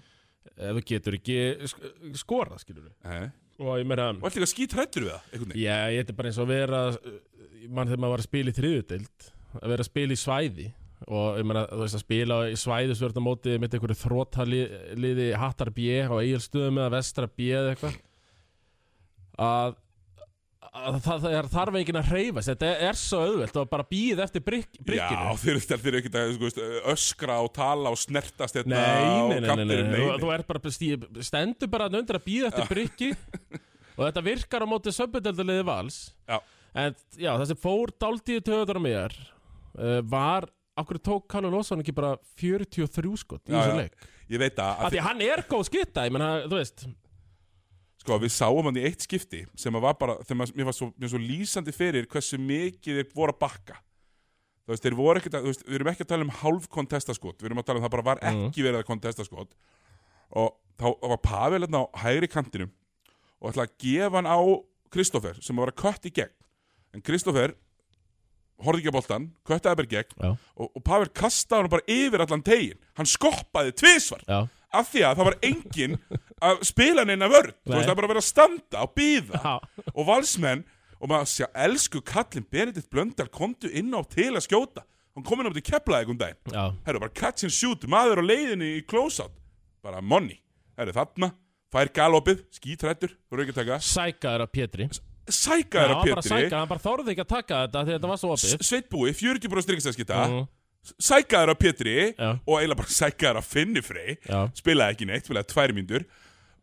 Ef þú getur ekki sk- skorað, skilur við eh. Og ég meina Og alltaf skýt hrættur við það, einhvern veginn. Já, ég þetta er bara eins og að vera uh, mann þegar maður var að spila í þriðutild að vera að spila í svæði og ég meina, þú veist að spila í svæði sem verður á móti með einhverju þrótaliði hattar B á Egilstöðum eða vestra B eða eitthvað að, að það, það er þarf enginn að hreyfa sig. þetta er svo auðvelt og bara býð eftir brygg, Já, brygginu þeir þeir eru ekki að sko, veist, öskra og tala og snertast hérna á nei, nei, nei, nei, nei, kantinum, Þú, þú ert bara stíð, stendur bara þarna undir að býð eftir bryggi og þetta virkar á móti söpudöldaliði vals Já. en já, það sem fór daldíu töður á mér uh, var okkur tók Kallur Lóson ekki bara 43 skot Já, í þessu já. leik Ég veit að, af að því hann er góð skitta, ég menna, þú veist sko, við sáum hann í eitt skipti sem að var bara, þegar maður, mér var svo, mér var svo lýsandi fyrir hversu mikið þeir voru að bakka þú veist, þeir voru ekkert að, þú veist, við erum ekki að tala um hálf kontestaskot, við erum að tala um það bara var ekki Mm. verið að kontestaskot og þá var Pavel hérna á hægri kantinum og ætlaði að gefa hann á Kristoffer sem var að kött í gegn en Kristoffer horfði ekki að boltan, köttaði bara í gegn Já. og, og Pavel kastaði hann bara yfir allan tegin hann skoppaði tvisvar já, af því að það var enginn að spila hann inn að vörn þú Nei. veist það er bara verið að standa og býða já, og valsmenn og maður sé elsku kallin Benedikt Blöndal komdu inn á til að skjóta hann kom inn á til keplaði einhvern daginn já, herru bara catch and shoot maður á leiðinni í close-out bara money herru þarna fær galopið skítrættur þú eru ekki að taka sækaður af Pétri sækaður Já, af hann bara Pétri sækaður, hann bara þorði ekki að taka þetta því þetta var svo opið S- Sveitbúi 40% styrkistaskita Mhm. sækaður af Pétri Já. og eiginlega bara sækaður af Finnifrey Já, spilaði ekki neitt, spilaði tvær mínútur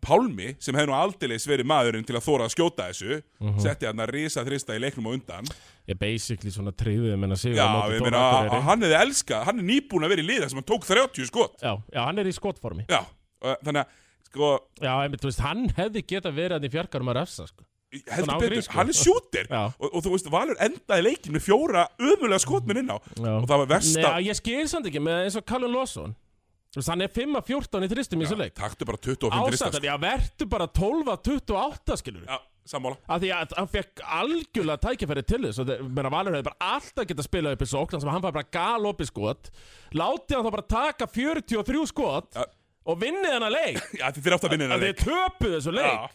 Pálmi, sem hefði nú aldeilis verið maðurinn til að þóra að skjóta þessu Mhm. setti hann að risa þrista í leiknum á undan ég basically svona tryðið meina sigur Já, á móti ég Þór meina, að- Akureyri. að hann hefði elskað hann er nýbúin að vera í liða sem hann tók 30 skot já, já, hann er í skotformi Já, og þannig að sko, Já, einmitt, þú veist, hann hefði geta verið hann í fjarkarum að refsa, sko heldur Svona á betur, grísku. hann er sjútir Já. og, og þú veist, Valur endaði leikin með fjóra ömulega skotminn inn á Já. og það var versta Nei, ég skil samt ekki með eins og Callum Lawson Þú veist, hann er 5-14 í þristum í þessu leik taktu bara 25 drista Ásættan, já, vertu bara 12-28, skilur við Já, sammála Af því að hann fekk algjörlega tækifæri til þess og þeir- meðan Valur hefði bara alltaf getað spilað upp í sókn sem hann fær bara gal upp í skot Láti hann þá bara taka 43 skot Já. og vinnið hann [laughs] að leik Já, þið þurfti að vinna að hennar þið töpuð þessu leik Já.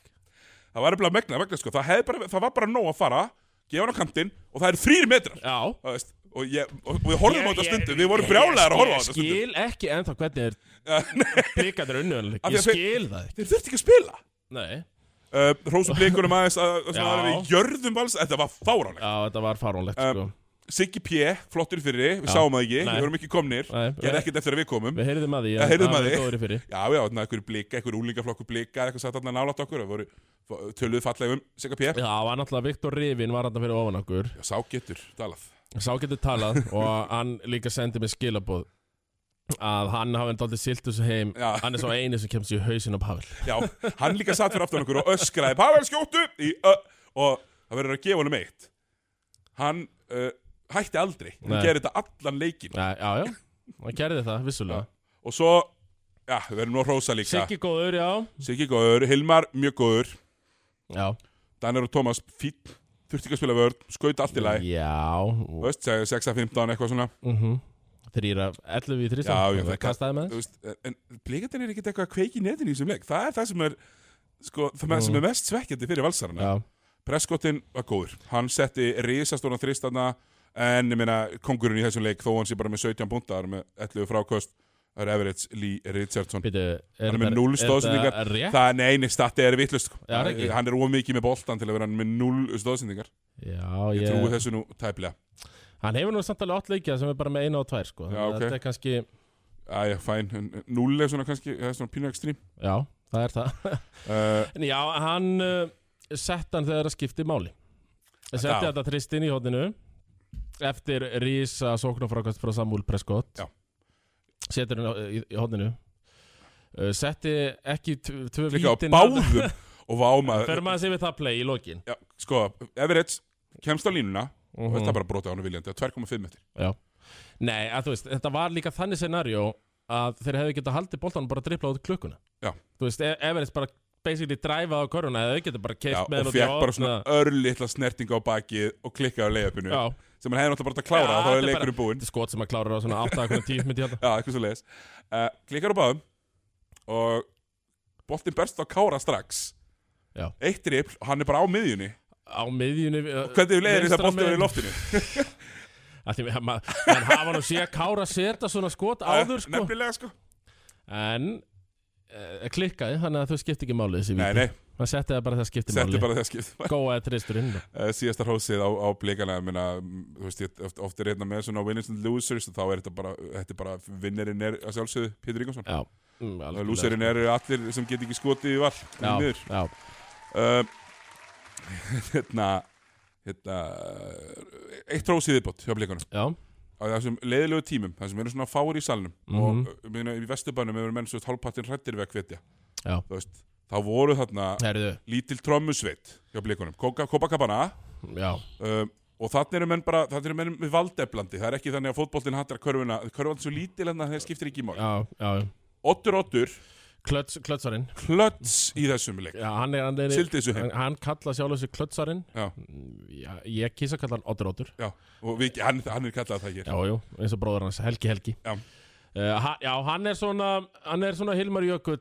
Það var eitthvað megna, megna sko. það, hefði bara, það var bara nóg að fara gefa hann á kantinn og það eru þrýr metrar Já Það veist, og, ég, og og við horfum á Ég- þetta ég- stundum við vorum ég- brjálæðar að horfa á ég þetta stundum skil ekki ennþá hvernig er blikandir unnuðanleik Af því Ég að þeir- skil það [laughs] ekki þeir þurfti ekki að spila Nei uh, hrósum blikunum aðeins að, að, Já. að, að við jörðum vals þetta var fáránlegt Já, þetta var farónlegt sko Siggi P, flottur fyrir, við Já. sáum það ekki Nei. við vorum ekki komnir, Nei, gerði ekkert eftir að við komum Við heyrðum að því Já, heyrðum að Það því. var góður í fyrir já, já, þannig að einhverju blika, einhverju úlingaflokku blika eða eitthvað satt þarna nálátt okkur, það voru töluðu fallega um Sigga P, Já, var náttúrulega Viktor Rivin var hann fyrir ofan okkur já, sá getur, talað Sá getur [laughs] talað og hann líka sendi mér skilabóð að hann hafi náttúrulega silt þessu heim Já. hann er svo eini sem kemst í hausin á Pavel Já, hann líka satt fyrir aftan okkur og öskraði Pavel skjóttu í, ö, og það verður að gefa honum eitt hann uh, hætti aldrei hann Nei. gerir þetta allan leikin Já, já, já, hann gerði það, vissulega og svo, já, við verðum nú að hrósa líka Siggi góður, já Siggi góður, Hilmar mjög góður Já, Danir og Tómas fín, þurfti ekki að spila vörð skaut allt í lagi, já þú veist, segja 6-15 eitthvað svona, mm Þrýra, 11 í þrýsa Já, já, það það- kastaði með þú veist en blíkandinn er ekkit eitthvað að kveiki í netinu í þessum leik það er það sem er, sko, það sem er mest svekkjandi fyrir valsarana Já, Prescottin var góður Hann setti risastóna þristana En ég meina, kongurinn í þessum leik Þó hann sé bara með 17 puntar Með 11 frákost Það er Everett Lee Richardson býtu Hann er með 0 stóðsendingar Er rétt? Það er neini, stati er vitlust Já, er ekki. Hann er ómikið með boltan til að vera með 0 stóðsendingar Já, Ég ég, trúi þessu nú tæplega Hann hefur nú samt alveg 8 leikja sem er bara með eina og tvær sko. Já, ok. Þetta er kannski, Æja, fæn 0 er svona kannski, það er svona pínu ekstrím já, það er það uh, En já, hann uh, sett hann þegar það skipti máli Setti Já. þetta þristin í hodninu Eftir rísa sóknarfrákast frá Samuel Prescott Já. Setur hann á- í, í hodninu uh, Setti ekki tv- tvö Líka á vítin báðum [laughs] Og váma Fyrir maður sér við það play í lokin Já, sko, Everett kemst á línuna Og Mhm. þetta er bara brotið á hann viljandi á 2,5 metri Já Nei, að þú veist, þetta var líka þannig scenario að þeir hefðu getað haldið boltanum bara driplað út klukkuna Já. Þú veist, E- Everest bara basically dræfað á koruna eða þau getað bara Já, keitt með og hann út í fekk bara horn svona eða- örlítla snerting á bakið og klikkaði á leiðupinu Já, sem hann hefði náttúrulega bara átt að klára Já, og þá er þetta er leikurinn búinn þetta er skot sem að klára á svona 8.10 myndi hérna Já, eitthvað svo leiðis uh, Klikkar á báðum og boltinn berst á Kára strax Já. Eitt ripl og hann er bara á miðjunni Á miðjunni uh, Hvernig við leiðir þetta vinstra boltinn er í megin. [laughs] loftinu? Af því að ma- Eh, Menn hafa nú sé að kára setja svona skot áður sko Nefnilega sko En eh, klikkaði þannig að þau skipti ekki máli þessi Nei, víti nei, hann setti það bara þegar skipti setti máli bara þegar skipt góaði tristurinn [laughs] Eh, síðasta hrósið á, á blikana ég meina, mm, þú veist, ég, oft, oft er hérna með svona winners and losers og þá er þetta bara, þetta er bara vinnerinn er að sjálfsögðu Pétur Ingolson já, mm, algjörlega. lúserinn er allir sem get ekki skotið í vall því já, miður. já, um, [laughs] hérna hérna uh, eitt hrósið viðbót hjá blikunum já, á þessum leiðilegu tímum, þessum eru svona fáir í salnum Mhm. og uh, meina, í vesturbænum eru menn svo hálfpartin hrættir við að hvetja Já. Þú veist, þá voru þarna herðu lítil trommusveit hjá blikunum, Copacabana já, um, og þannig eru menn bara þannig eru menn með valdeflandi, það er ekki þannig að fótboltinn hattar körfuna, körfan er svo lítil en það skiptir ekki mál. já, já Ottur Ottur Klöts, klötsarinn klöts í þessum leik, já, hann, er, hann, er, sildi þessu heim hann, hann kalla sjálf þessi klötsarinn Já. Mm, já, ég kýsa að kalla hann Oddur Oddur já, og við, hann, hann er kallað það hér já, jú, eins og bróður hans, Helgi Helgi Já. Eh, ha, já hann er svona hann er svona Hilmar Jökull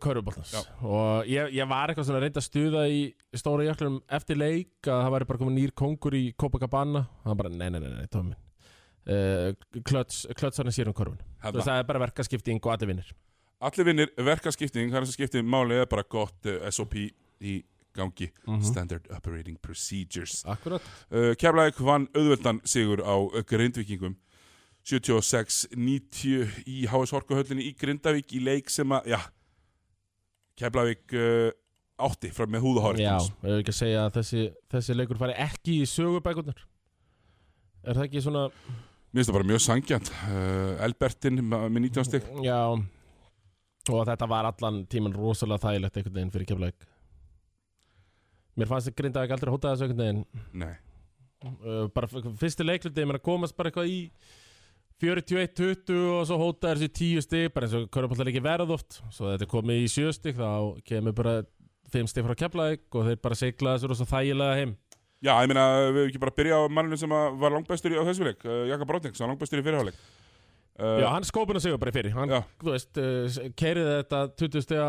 Köruboltans Já. og ég, ég var eitthvað svona reynd að stuða í stóra jöklum eftir leik að það væri bara komið nýr kongur í Copacabana og hann bara, nei, nei, nei, nei, tómi minn uh, klöts, klötsarinn sér um körfun Þarna. það er bara verkaskipting og allir vinnir allir vinnir verkaskipting, það er þess að skipti máli er bara gott uh, SOP í gangi Mhm. Standard Operating Procedures akkurat uh, Keflæk vann auðveldan sigur á uh, grindvikingum 76-90 í HS Horkuhöllinni í Grindavík í leik sem að, já Keflæk uh, átti frá með húðahárið Já, ég vil ekki að segja að þessi, þessi leikur fari ekki í sögubækunar Er það ekki svona Mér finnst það bara mjög sangjant uh, Elbertin ma- með 19 stygg Já Og þetta var allan tíman rosalega þægilegt einhvern veginn fyrir keflaug Mér fannst það grindaði ekki aldrei að hóta þessu einhvern veginn Nei, uh, Bara f- fyrsti leikluti, ég meina komast bara eitthvað í 41-20 og svo hóta þessu 10 stig Bara eins og körfbóllar ekki verð oft Svo þetta er komið í 7 stig þá kemur bara 5 stig frá keflaug Og þeir bara segla þessu rosa þægilega heim já, ég meina við hefum ekki bara að byrja á manninu sem að var langbæstur í á þessu leik uh, Jaka Brotning, sem var langbæstur í fyrirháleik uh, Já, hann skópin að segja bara í fyrir hann, Já. Þú veist, uh, keiriði þetta 20 stega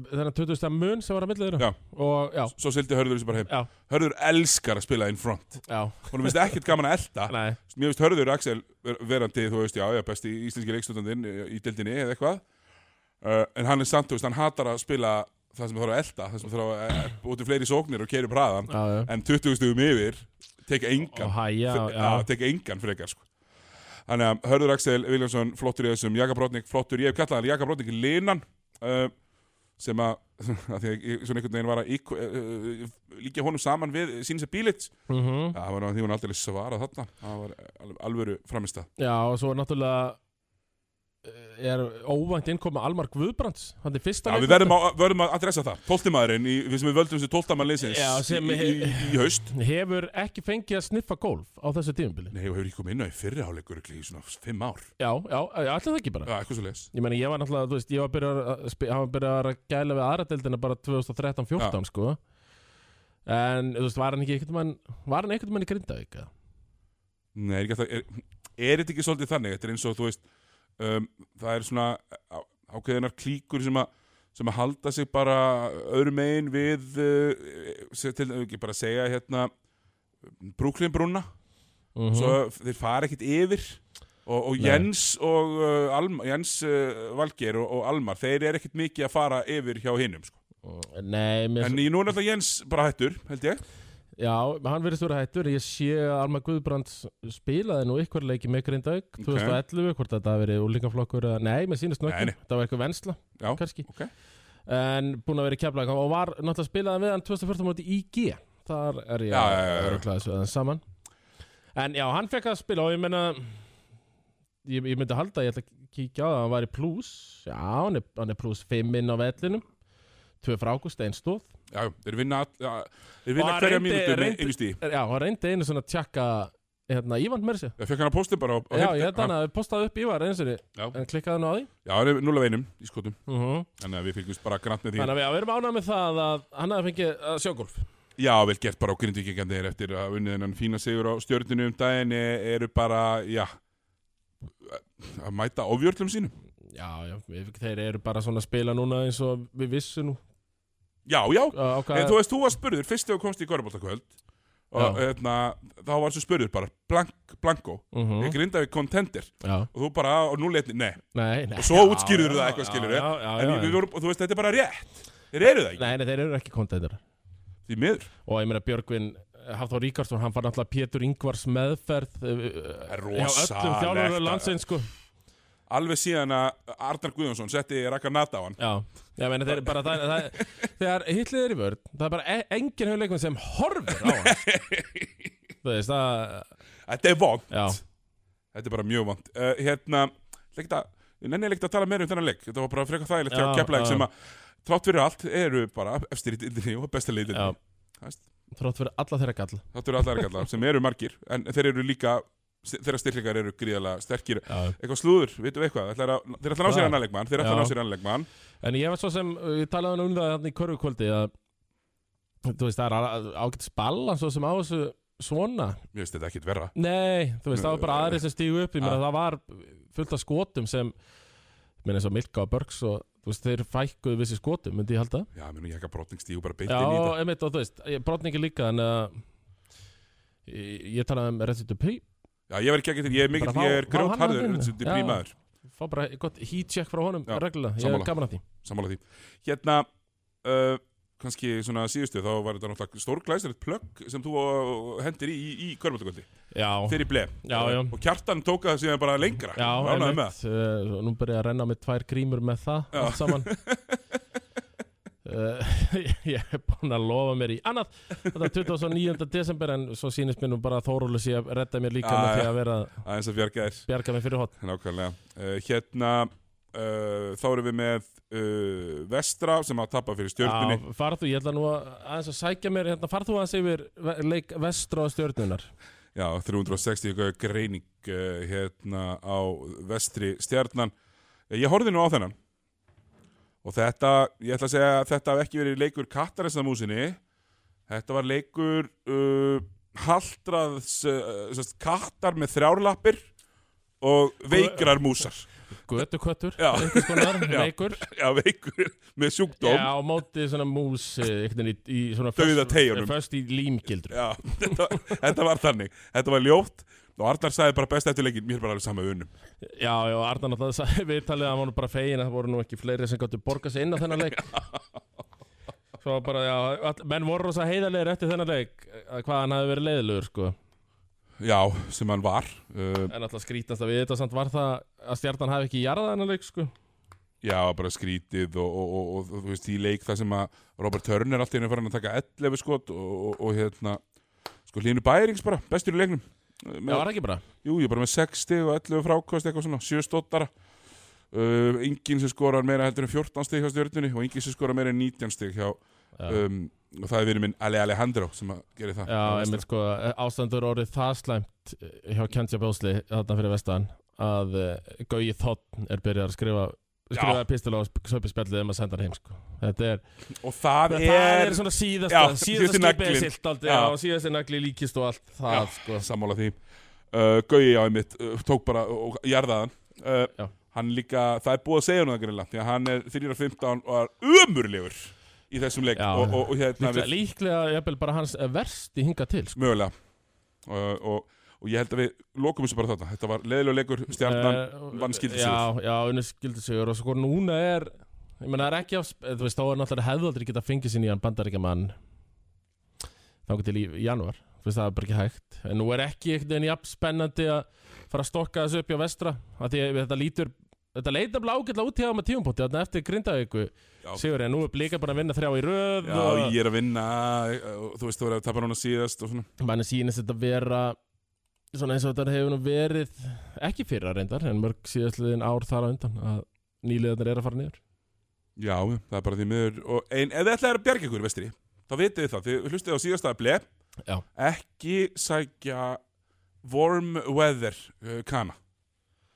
þennan 20 stega mun sem var að milli þeirra Já. og já, Svo sildi Hörður þessu bara heim Já. Hörður elskar að spila in front já, Hún finnst ekkert gaman að elta nei, Mér finnst Hörður Axel ver- verandi Þú veist, já, já, besti íslenski leikstundandinn Í dildinni eða eitthvað uh, En hann er samt, þú veist, hann hatar að spila Það sem þarf að elta, það sem þarf að eh, búti fleiri sóknir og keiri upp hraðan já, já En 20 stugum yfir, teka engan og hæja, Fe- já, já, teka engan frekar sko. Þannig að Hörður Axel Viljánsson flottur í þessum Jakabrótning, flottur, ég hef kallað hann Jakabrótning Linan uh, sem að, [laughs] að því að ég svona einhvern veginn var að íkv- uh, uh, líka honum saman við sínis að bílit, mhm ja, það var nú að því hún aldrei svarað þarna, það var alveg alvöru framist það, já, og svo náttúrulega eh, er óvænt innkoma Almar Guðbrands hann er fyrsta já, við verðum að, verðum að adressa það, tóltimaðurinn, í, við sem við völdum þessu tóltamann leysins Já, sem- í, í, í, í haust hefur ekki fengið að sniffa gólf á þessu tímubili Nei, og hefur ekki komið inn á í fyrirháleikur í svona fimm ár, já, já, já, allir það ekki bara já, eitthvað svo leis Ég meina, ég var náttúrulega, þú veist, ég var byrjar að, spi- hann var byrjar að gæla við aðra deildina bara 2013-14, sko En, þú veist, var hann ekki einhvern mann, var hann einhvern mann í Grindavík, eða? Nei, er, ekki alltaf, er, er þetta ekki svolítið þannig? Þetta er eins og þú veist um, það er svona á- ákveðinar klíkur sem að sem að halda sig bara öðrum megin við uh, se- til ekki bara að segja hérna Brooklyn brúna Mm svo þeir fara ekkit yfir og, og Nei. Jens og uh, Alma, Jens uh, Valgeir og, og Almar þeir eru ekkit mikið að fara yfir hjá hinnum sko. Mhm. Nei, mér, en í nú er alltaf Jens bara hættur held ég já, hann verðist vera hættur Ég sé að Alma Guðbrands spilaði nú ykkur leiki með Grindavík Ok. 2011, hvort þetta hafi verið úlingaflokkur eða, Nei, mér sýnist nú Nei, ekki, nei. það var eitthvað vensla, Já, kannski ok. En búin að vera í keflaðing og var náttúrulega spilaði við hann 2014 móti í IG Þar er ég Já, já, já, já. örugglega þessu aðeins saman En já, hann fekk að spila og ég meina Ég, ég myndi halda, ég ætla að kíkja á það Hann var í plus, já, hann er, hann er plus 5 inn á vellinum Tvö frákust, ein stóð já, þeir vinna, all- já, þeir Og vinna hann hverja reyndi- mínútu með reyndi- einu stíð Já, hann reyndi einu svona að tjekka Hérna, Ívan mér sér Ég fekk hann að posti bara á, á Já, heyrn- ég held hann að postaði upp Ívar eins og Já. En klikkaði hann á því Já, hann er 0 af einum í skotum uh Þannig að við fylgjumst bara grant með því Þannig að við, já, við erum ánægð með það að hann hafði fengið uh, að sjá golf Já, vel gert bara á grindvíkingandi eftir að unnið hennan fína sigur á stjörninu um daginn e- eru bara, já að mæta ofjörlum sínum Já, já, við, þeir eru bara svona að spila núna eins og við vissum nú Já, já, á á en hvað þú veist, þú var spurður fyrst þegar þú komst í Körbóltakvöld og Já. hérna, þá var þessu spurður bara blank, blanko, mm ég grinda við contender Já, og þú bara, og nú leitni, nei nei, nei og svo útskýrður það eitthvað skilur Já, já, já, en já. við vorum, og þú veist, þetta er bara rétt þeir eru það ekki, Nei, nei, þeir eru ekki kontendur því miður Og ég meina Björgvin Hafþór Ríkarsson, hann fann alltaf Pétur Ingvars meðferð uh, uh, er hjá öllum rosalegt, þjálfurur að- landsins sko. alveg síðan að Arnar Guðjónsson setti Rakanata á hann Já, ég meina þeir eru bara það, það, Þegar hitlið er í vörð Það er bara e engin hefur leikmenn sem horfir á hann sko. Þú veist, það þetta er vond, Já, þetta er bara mjög vond uh, hérna, leikta, ég nenni leikt að tala meira um þennan leik, þetta var bara frekar þægilegt Já, hjá já. Keflæk sem að, þátt fyrir allt eru bara efstir í dildinni og besta já leitildinni Þrótt fyrir alla þeirra gall þátt fyrir allar kallar sem eru margir, en þeir eru líka þeirra styrklingar eru gríðalega sterkir Já eitthvað slúður, vitum við eitthvað, þeir ætla að þeir ætla að ná sér Já. annan leikmann, þeir ætla að Já. ná sér annan leikmann En ég var svo sem, ég talaði um það þannig í körfukvöldi að þú veist, það er ágætt spalla svo sem á þessu svona mér finnst þetta ekkit verra Nei, þú veist, það var bara Nei. aðrið sem stígu upp ég meina Ja. það var fullt af skotum sem ég meina eins og Milka og Börgs og þú veist, þeir fækkuðu vissi skotum, myndi ég halda Já, menn ég ekki að brotning stígu bara beint Já, inn í þetta emitt, og þú veist, brotningi líka en uh, ég, ég talaði um Resident Evil Já, ég verð ekki ekki til, ég er mikill, Bara fá- ég er fá hann að grjótharður vinna. eins og þetta Já. er prímaður, fá bara gott heat check frá honum Já, reglulega, ég sammála. er gaman að því sammála því Hérna, uh, kannski svona síðustu þá var þetta náttúrulega stórglæsilegt plögg sem þú uh, hendir í, í, í körmöldugöldi Já, fyrir blei Já, já. og kjartan tók það síðan bara lengra Já, Var ánægður með það. einmitt uh, Nú byrja ég að renna með tvær grímur með það Já. Allt [laughs] saman uh, [laughs] Ég er búinn að lofa mér í annað Þetta er 29. desember En svo sýnist mér nú bara að Þórúlu sé að redda mér líka Já, með Ah, já. því að vera að aðeins að bjarga þér bjarga mér fyrir hot Nákvæmlega. Uh, hérna, uh, þá erum við með uh, Vestra sem að tapa fyrir stjörnunni. Já, farð þú, ég ætla nú að aðeins að sækja mér hérna, Farð þú aðeins yfir ve- leik vestra og stjörnunar Já, 360 gauð greining uh, hérna á Vestri stjarnan. Eh, Ég horfði nú á þennan. Og þetta, ég ætla að segja að þetta hafði ekki verið leikur kattarinsamúsinni. Þetta var leikur uh, haldraðs, uh, sest, kattar með þrjárlappir og veikrar músar. Götu köttur, Já. einhvers konar, [laughs] Já. leikur Já, veikur með sjúkdóm. Já, á móti svona mús eh, einhvern veginn í, í svona Dauða teygjunum. Föst í límgildru Já, þetta, þetta var þannig Þetta var ljótt og Arnar sagði bara best eftir leikin Mér er bara alveg sama við unum Já, já, Arnar náttúrulega sagði viðtalið að hann var nú bara fegin að það voru nú ekki fleiri sem gáttu borgað sér inn á [laughs] þennan leik Svo bara, já, all, menn voru rosa heiðarlegar eftir þennan leik að hvað hann hafi verið leiðilegur, sko Já, sem hann var uh, En alltaf skrítast að við þetta samt var það að stjarnan hafi ekki jarðað þennan leik, sko Já, bara skrítið og, og, og, og, og þú veist, í leik það sem að Robert Turner allt í henni farin að taka 11 skot og, og, og hérna sko hlínu bærings bara, bestur í leiknum Uh, Já, með, var ekki bara Jú, ég er bara með 6 stig og 11 frákost eitthvað svona, 7 stóttara uh, Engin sem skorar meira heldur en 14 stig hjá stjörnunni og engin sem skorar meira en 19 stig hjá Já, um, og það er verið minn Ale Alejandro sem að gera það já Vestra. einmitt, sko, ástandur orðið það slæmt eh, hjá Kentja Bjósli þarna fyrir vestan að uh, Gauji Þotn er byrjað að skrifa Já. skrifa pistil á söpispjallið um að senda hann heim, sko Þetta er og það, Það, er er svona síðasta, Já, síðasta síðasti skipið naglinn. silt aldrei Já. og síðasta nagli líkist og allt það, Já. sko. sammála því uh, Gauji á einmitt uh, tók bara og og jarðaðan Já. uh, hann líka, það er búið að segja hann það greinlega því að hann er 3.15 og er umurlegur í þessum leik Já. og, og, og hérna Líklega, líklega jafnvel bara hans versti hinga til, sko. mögulega uh, og, og ég held að við lokum þessu bara þarna þetta var leiðilega leikur stjarnan Eh, vann skyldisigur. Já, já, unni skildi sigur og svo hvort núna er, ég menna það er ekki á, sp- eh, þú veist, þá er náttúrulega hefðaldri geta fengið sinni í hann bandaríkjaman þangur til í í janúar, þú veist, það er bara ekki hægt. En nú er ekki einhvern veginn jafn spennandi að fara að stokka þessu upp hjá vestra, að því að þetta lítur, þetta leita blágætla út hjá með tíumpóti, þannig eftir grindavíku Já. Sigur, en nú er blika bara að vinna þrjá í röð Já, og ég er að vinna uh, þú veist þú verður að tapa núna síðast og svona manni sýnist þetta vera svona eins og þetta hefur nú verið ekki fyrra reyndar, en mörg síðastliðin ár þar á undan að nýliðarnir er að fara niður Já, já, það er bara því miður og ein, ef þið ætlaði að bjarga ykkur, vestri þá vitið þið það, þið hlustið á síðasta ble Já. ekki sækja warm weather uh, kana,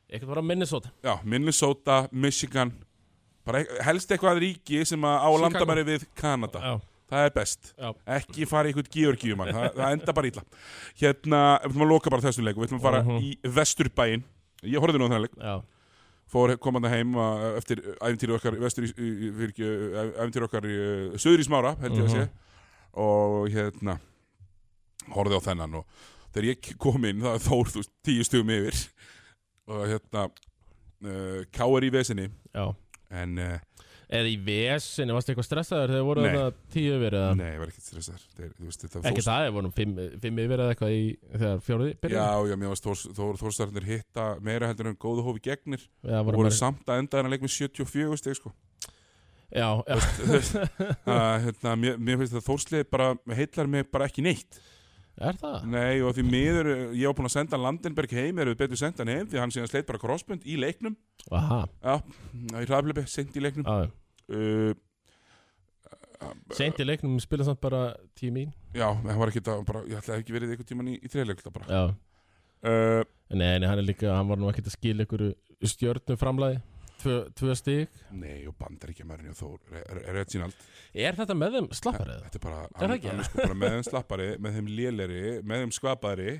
Ekkert bara Minnesota já, Minnesota Michigan, bara ek- helst eitthvað ríki sem að á Chicago. landamæri við Kanada, Já, það er best já, ekki fara í eitthvað georgíumann, það, það enda bara illa hérna, við ætlum að loka bara þessum leiku við ætlum að fara Mhm. í vesturbæin ég horfði nú á þennan leik já, fór komanda heim uh, eftir æfintýri okkar vestur í, í, í- eh, fyrir ekki, eh, æfintýri okkar í, uh, söður í smára held ég að sé og hérna horfði á þennan og þegar ég kom inn það var Þór þú veist, tíu stugum yfir og hérna uh, Káar í vesinni Já en uh, Eða í vesinni, varstu eitthvað stressaður þegar voru Nei. það tíu yfir eða nei, ég var ekkert stressar þeir, þú veist, þetta Ekki fórst það, við vorum fimm, fimm yfir eða eitthvað í þegar fjóruði já, já, mér varst Þór, Þór, Þórstarnir hitta meira heldur en góðu hófi gegnir Já, og voru voru maður, samt að enda þennan leik með 74 steg sko já, já, uh, hérna, mér, mér finnst það Þórsleif bara heillar mig bara ekki neitt er það? Nei og því miður, eh, ég var búinn að senda Landenberg heim, erum við betur senda hann heim því hann síðan sleit bara crossbund í leiknum Aha, Já, í hraðblöfi, seint í leiknum já, já. uh, Ah. Seint í leiknum spila samt bara tíu mín Já, hann var ekki það, bara, ég ætlaði ekki verið einhvern tíman í, í þreðleikla bara Já, uh, nei, nei, hann er líka, hann var nú ekkert að skila ykkur stjörnum framlæði Tvö, tvö stík Nei og bandar ekki mörni og Þór, Re- Re- Reginald Er þetta með þeim slapparið? Þetta er bara, það hann, ekki? hann er sko bara með þeim slappari, með þeim léleri, með þeim skvapari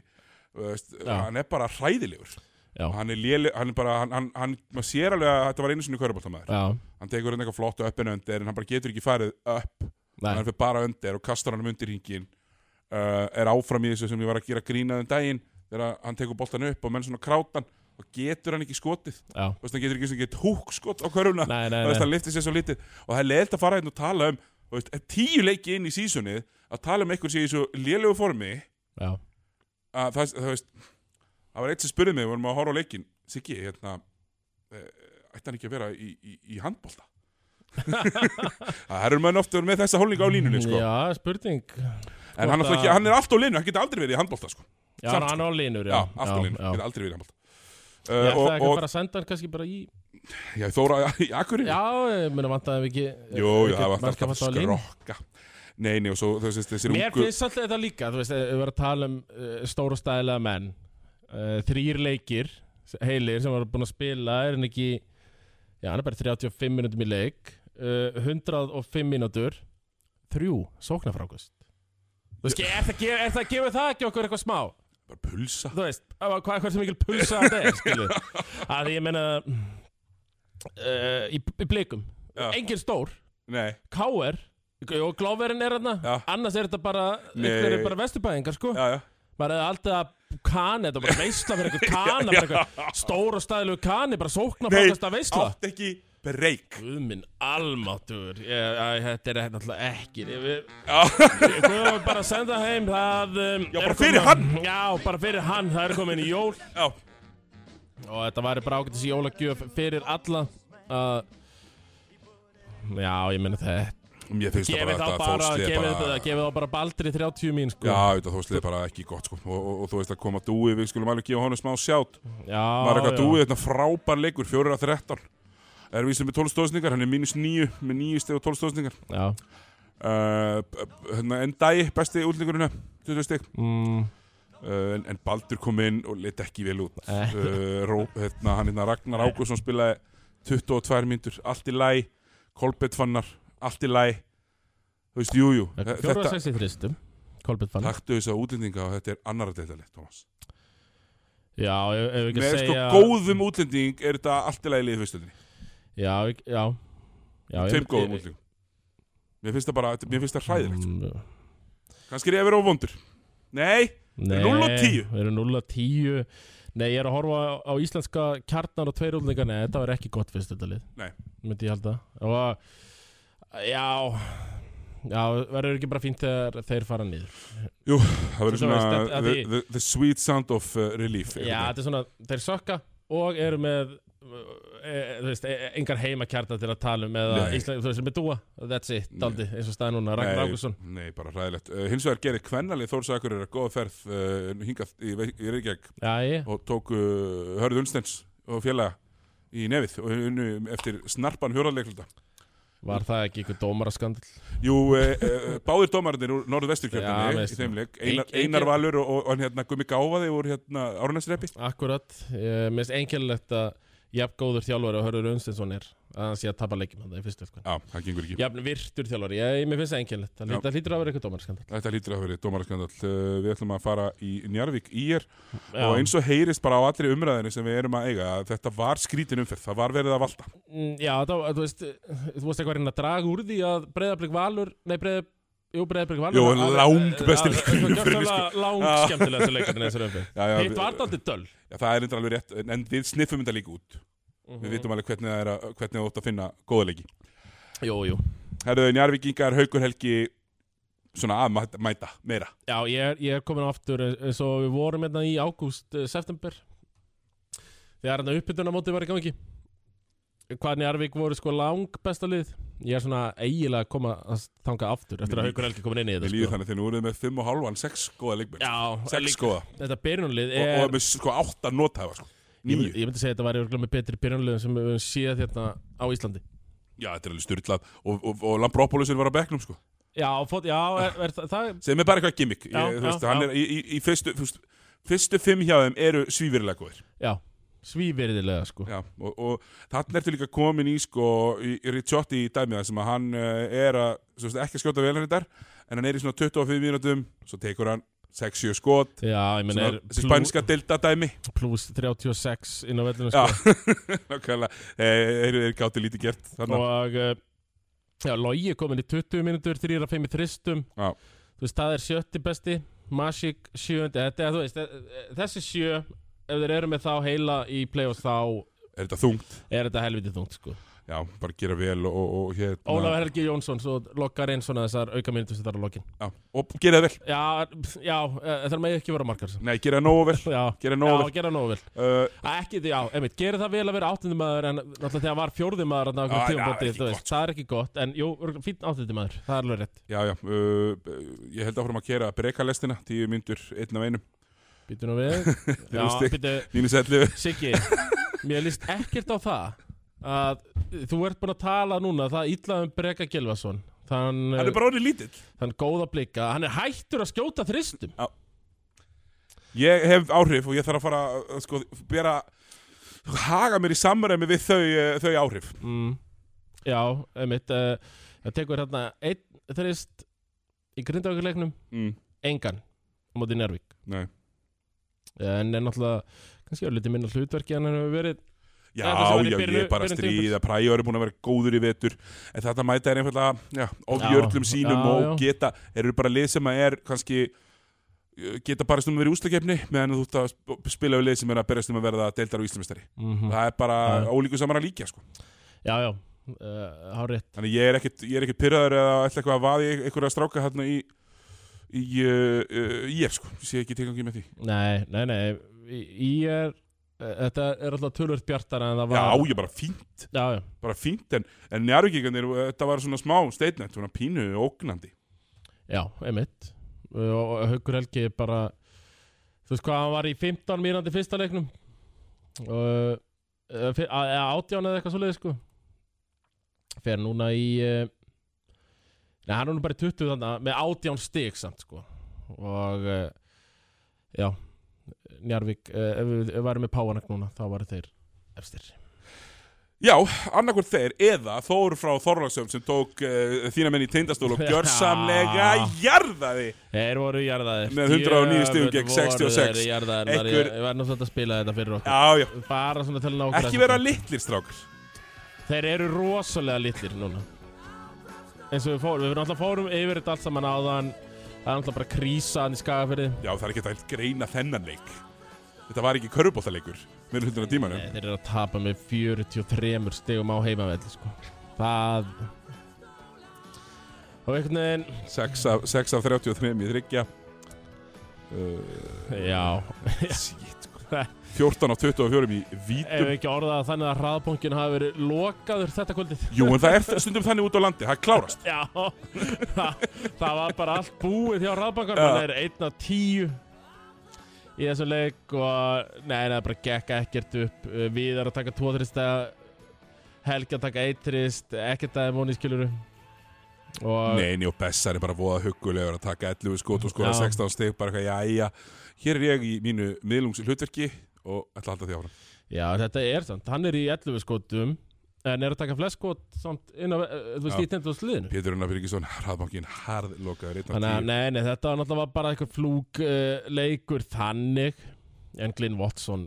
veist, Já. Hann er bara hræðilegur Já, hann er léle, hann er bara, hann, hann, hann maður sér alveg að þetta var einu sinni köruboltamæður já, hann tekur hérna eitthvað flott og öppin öndir en hann bara getur ekki farið upp nei, hann fyrir bara öndir og kastar hann um undir hringin uh, er áfram í þessu sem ég var að gera grínað um daginn þegar hann tekur boltan upp og menn svona krátan og getur hann ekki skotið já Þú veist, hann getur ekki svona gett húk skot á körfuna Nei, nei, Þú veist, nei, hann liftir sér svo lítið og það er leilt að fara hérna og tala um þú veist, tíu leiki inn í sísunni að tala um eitthvað sé í svo lélegu formi já, að það, það veist það var eitt sem spurði mig, við vorum að horfa á leikin Siggi, hérna eh, ætti hann ekki að vera í, í, í [laughs] handbolta það erum maður oft með þessa hólninga á línunni sko. já, spurning en hann, að... hvort ekki, að- hann er allt á línu, hann getur aldrei verið í handbolta sko. Já, Samt, hann á línur, já, já allt á línu, já. getur aldrei verið í handbolta Ég Uh, ætlaði og ekki að og fara að senda hann kannski bara í já, Þóra í Akureyri Já, ég meina vantaði ekki Jú, jú, það var alltaf á línu skrokka Nei, nei, og svo þessi, þessi Mér ungu finnst alltaf þetta líka, þú veist, ef við erum að tala um uh, stóra stæðilega menn uh, Þrýr leikir, s- heilir, sem var búin að spila, er hann ekki Já, hann er bara 35 minútum í leik uh, 105 mínútur Þrjú, sóknarfrákust Þú veist, er það, að gefa, er það að gefa það ekki okkur eitthvað smá? bara pulsa Þú veist, hvað, hvað hversu mikil pulsa þetta er, skilu Að ég meina uh, í, í blikum, Já. engin stór Nei, K.R. og Gláverin er hérna Já. annars er þetta bara Nei. ykkur er bara vesturbæðingar sko já, já maður hefði alltaf kanið þetta var bara veistla fyrir eitthvað [laughs] kana bara eitthvað stór og staðilegu kani bara sókna frákast að veistla átt ekki breyk Guðminn almáttur ég, æ, þetta er náttúrulega ekki ég, við, Já, [laughs] við komum bara að senda heim það um, Já, er bara fyrir komin- hann. já bara fyrir hann það er komin í jól já og þetta væri bara ágætis jólagjöf fyrir alla uh, já ég meina þetta Mér finnst það gefið bara þá að bara, þórslið gefið þetta, bara gefið þá bara Baldri 30 mín sko Já, auðvitað þórslið bara ekki gott sko. og, og, og þú veist að koma dúi, við skulum alveg gefa honum smá sjátt já Var eitthvað já. dúi, þetta frábær leikur, 4 að 13 Er vísið með 12 stóðsningar, hann er mínus 9 með 9 steg og 12 stóðsningar Já, uh, b- b- hérna, En Dæi, besti útlingurinn 20 steg mm, uh, en, en Baldur kom inn og lit ekki vel út Eh. uh, Ró, hérna, hann hérna Ragnar Ágússon spilaði 22 mínútur, allt í læ Kolbett fannar, allt í læ þú veist, jú, jú þe- fjóra sexi þristum Kolbjörn fann taktu þess að útlendinga og þetta er annara deildalegt, Thomas Já, ef ef við ekki með sko segja góðum útlending er þetta allt í læ í liðfyrstöldinni, Já, ég- já, já ég- tveim góðum ég- útlendingum mér finnst það bara, þetta- mér finnst það hræðilegt sko. Mm, kannski er ég að vera óvondur nei, Nei, 0 og 10. Við erum 0 og 10 Nei, ég er að horfa á, á íslenska kjarnar og tveir útlendingar Nei, þetta var ekki gott fyrst þetta lið Nei. Myndi ég halda Og Já Já, verður ekki bara fínt þegar þeir fara niður það verður Svo svona veist, þetta- að the, því- the, the sweet sound of uh, relief Já, þetta er svona, þeir sökka og eru með e, þú veist, e, engar heimakjarta til að tala um eða Nei. Ísland, þú veist, með dúa that's it, Nei. daldi, eins og staði núna Ragnar Nei, Ágússon Nei, bara ræðilegt. Uh, hins vegar gerði kvennalið Þórsakur er að góða ferð uh, hingað í, Ve- í Reykjavík Já, ég, og tók uh, Hörð Unnstens og félaga í nefið og unnu eftir snarpan hjóraðleikluta. var það ekki ykkur dómaraskandal Jú, uh, uh, báðir dómarnir úr Já, norðvesturkjörnum veist í þeim leik, Ein- Einar, engin- Einar Valur og, og, og hérna Gummi Gáfaði úr hérna Árnæsreppi. Akkurat, eh, mér finnst einkennilegt að jafn góður þjálfari og Hörður Unstinsson er að hann sé að tapa leikjum hann í fyrstu sko. Já, það gengur ekki. Jafn virtur þjálfari, ég, mér finnst það einkennilegt það Já. hlýtur- það hlýtur að vera ykkur dómaraskandal Þetta lítur að hafa verið dómaraskandall. Uh, við ætlum að fara í Njarvík í er Já. og eins og heyrist bara á allri umræðinu sem við erum að eiga að þetta var skrítin umferð, það var verið að valda. Mm, Já, þá, þú veist, þú veist eitthvað að reyna að draga úr því að breyðablík valur, nei breyðab, Jú, Breiðberg var Jú, alveg- langbesti alveg- leikurinn í fyrri gjörsamlega Langskemmtilegasti leikurinn í þessari umferð [laughs] já, já, Hitt var dálítið döl já, það er endur alveg rétt en- en við sniffum þetta líka út Mhm. við vitum alveg hvernig það er að, hvernig það ótt að finna góða leiki Jú, jú herruðu, Njarvíkingar, Haukur Helgi svona að mæta- mæta, meira Já, ég er, ég er komin aftur eins og við vorum hérna í ágúst, eh, september Þegar hérna uppbytunamótið var í gangi Hvað Njarvík voru sko lang besta lið Ég er svona eiginlega að koma að þanga aftur Eftir að Mér Haukur Helgi komin inn í við þetta sko. líður þannig þegar nú eruðum við með 5 og halvan, 6 góða leikmenn Já, 6 líka, góða þetta byrjunlið sko. og, er og með sko 8 nothæfa sko. ég, 9 myndi- ég myndi segja að þetta væri örugglega með betri byrjunliðum sem við höfum séð hérna á Íslandi já, þetta er alveg styrlað og, og, og Lambropoulosin var á bekknum sko. Já, fót, já er, er, það, það sem er bara eitthvað gimmick Já, ég, já, þú veist, hann já. er í, í, í fyrstu, fyrstu fyrstu fimm hjá þeim eru svífirilega góðir Já, svívirðilega sko Já, og, og þarna ertu líka komin í sko, í, í Ricciotti í dæmið þar sem að hann uh, er að, svo veist, ekki að skjóta vel hrindar en hann er í svona 25 mínútum svo tekur hann 6-7 skot Já, ég menn svona er þessi spænska delta dæmi plus 36 inn á vellinu Já, [laughs] sko nákvæmlega Eh, þeir eru gátti lítið gert þannig Og eh, já, Logi komin í 20 mínútur, 3 að 5 í þristum Já. Þú veist, það er sjötti besti Masík sjöundi, þetta er þú veist eh, Þessi sjö, ef þeir eru með þá heila í play-offs þá er þetta þungt er þetta helviti þungt sko Já, bara gera vel og, og, og hérna Ólafur Helgi Jónsson, svo lokkar einn svona þessar auka sem þetta er að lokin já, Og gera það vel Já, pff, já, eh, það megi ekki vera margar sem. Nei, gera það nógu vel Já, Gera það já, nógu vel gera nógu vel uh, Að Ekki, já, einmitt, gera það vel að vera áttundi maður En náttúrulega þegar hann var fjórði maður þarna á Já, einhverjum já, tímapunkti, ekki þú gott, sko. veist, Það er ekki gott, en jú, fín áttundi maður Það er alveg rétt Já, já uh, Ég held áfram að gera brekalestina 10 myndur, einn af einum Býtu [laughs] nú við Já, stig. býtu, Nínu sætlu [laughs] Siggi Mér líst ekkert á það Að þú ert búin að tala núna Það illa um Breka Gilvason Þann, Hann er bara orðið lítill þann góða blika Hann er hættur að skjóta þristum Ég hef áhrif og ég þarf að fara að, sko, bera, haga mér í samræmi við þau, eh, þau áhrif. mm. Já, einmitt uh, Það tekur hérna einn þrist í grindavíkurleiknum Mm. engan á móti Njárvík Nei. en er náttúrulega kannski örlítið minna hlutverki en hann hefur verið Já, Þetta sem var í já, ég byrjun- er bara byrjun að stríða, præjur er búin að vera góður í vetur, en þetta mæta er einfallega, já, of Já, jörglum sínum já, og geta, eru bara lið sem að er kannski, eh, geta bara stundum verið í úslakefni, meðan þú ert að sp- spila við lið sem er að berjast um að verða deildar og íslumistari. -hmm. Það er bara Já. ólíku saman að líka, sko. Já, já, uh, hárétt Þannig ég er ekkit, ég er ekkit pyrraður eða ætla eitthvað að vaði einhverja stráka hérna í, í, uh, uh, í sko. Ég sé ekki tilgangi með því. Nei, nei, nei Ég er eh, Þetta er alltaf tölvöld bjartara en það var Já, ég bara fínt, já, já. bara fínt en, en njárvíkingarnir, þetta var svona smá statement, svona pínu og ógnandi Já, einmitt Uh, og Haukur Helgi er bara þú veist hvað, hann var í 15 mínandi fyrsta leiknum og eh, eða átján eða eitthvað svoleiði sko fer núna í uh, neða, hann er nú bara í 20 þannig með átján stig samt sko og uh, já Njarvík, uh, ef við ef við værum með Páanak núna þá varu þeir efstir Já, annarkvort þeir, eða Þór frá Þorlagsöfn sem tók uh, þína menn í teindastól og gjörsamlega jarðaði Þeir voru jarðaðir Með 109 stigum gegn 66. Þeir jarðaðir, maður, Einhver- ég, ég var náttúrulega að spila þetta fyrir okkur Já, já, Bara svona til að nákvæmlega ekki vera litlir strákar Þeir eru rosalega litlir núna eins og við fórum, við náttúrulega fórum yfir þetta allt saman áðan það er náttúrulega bara krísaðan í skagafyrði Já, það er ekki að greina þennan leik Þetta var ekki körubóttaleikur með hlutuna tímanum Nei, Eh, þeir eru að tapa með 43 stegum á heimavelli sko. það og einhvern veginn 6 af, 6 af 33 í þryggja uh, [laughs] já, Sýtt 14 af 24 í [laughs] ef vítum ekki orðað þannig að hraðpunkin hafi verið lokaður þetta kvöldið Jú, en það er stundum þannig út á landi, það klárast já, [laughs] það, það var bara allt búið hjá hraðpunkan Já. það er einn af tíu í þessum leik og nei, það bara gekk ekkert upp Uh, við erum að taka tvo þrista Helgi að taka eitt þrist ekkert aðeins vonið skiluru og Nei, Neini og Bessar er bara voða huggulegur að taka 11 skot og skora Já. 16 stygg bara eitthvað, jæja, hér er ég í mínu miðlungs hlutverki og ætla að halda því áfram já, þetta er samt, hann er í 11 skotum en er að taka flest skot samt inn á, uh, þú Já. veist, í tindu á sliðinu Pétur Unnar Byrgisson, hraðbankin, harðlokaður einn af Þannig að, tíu. nei, nei, þetta var náttúrulega bara eitthvað flúk uh, leikur þannig en Glyn Watson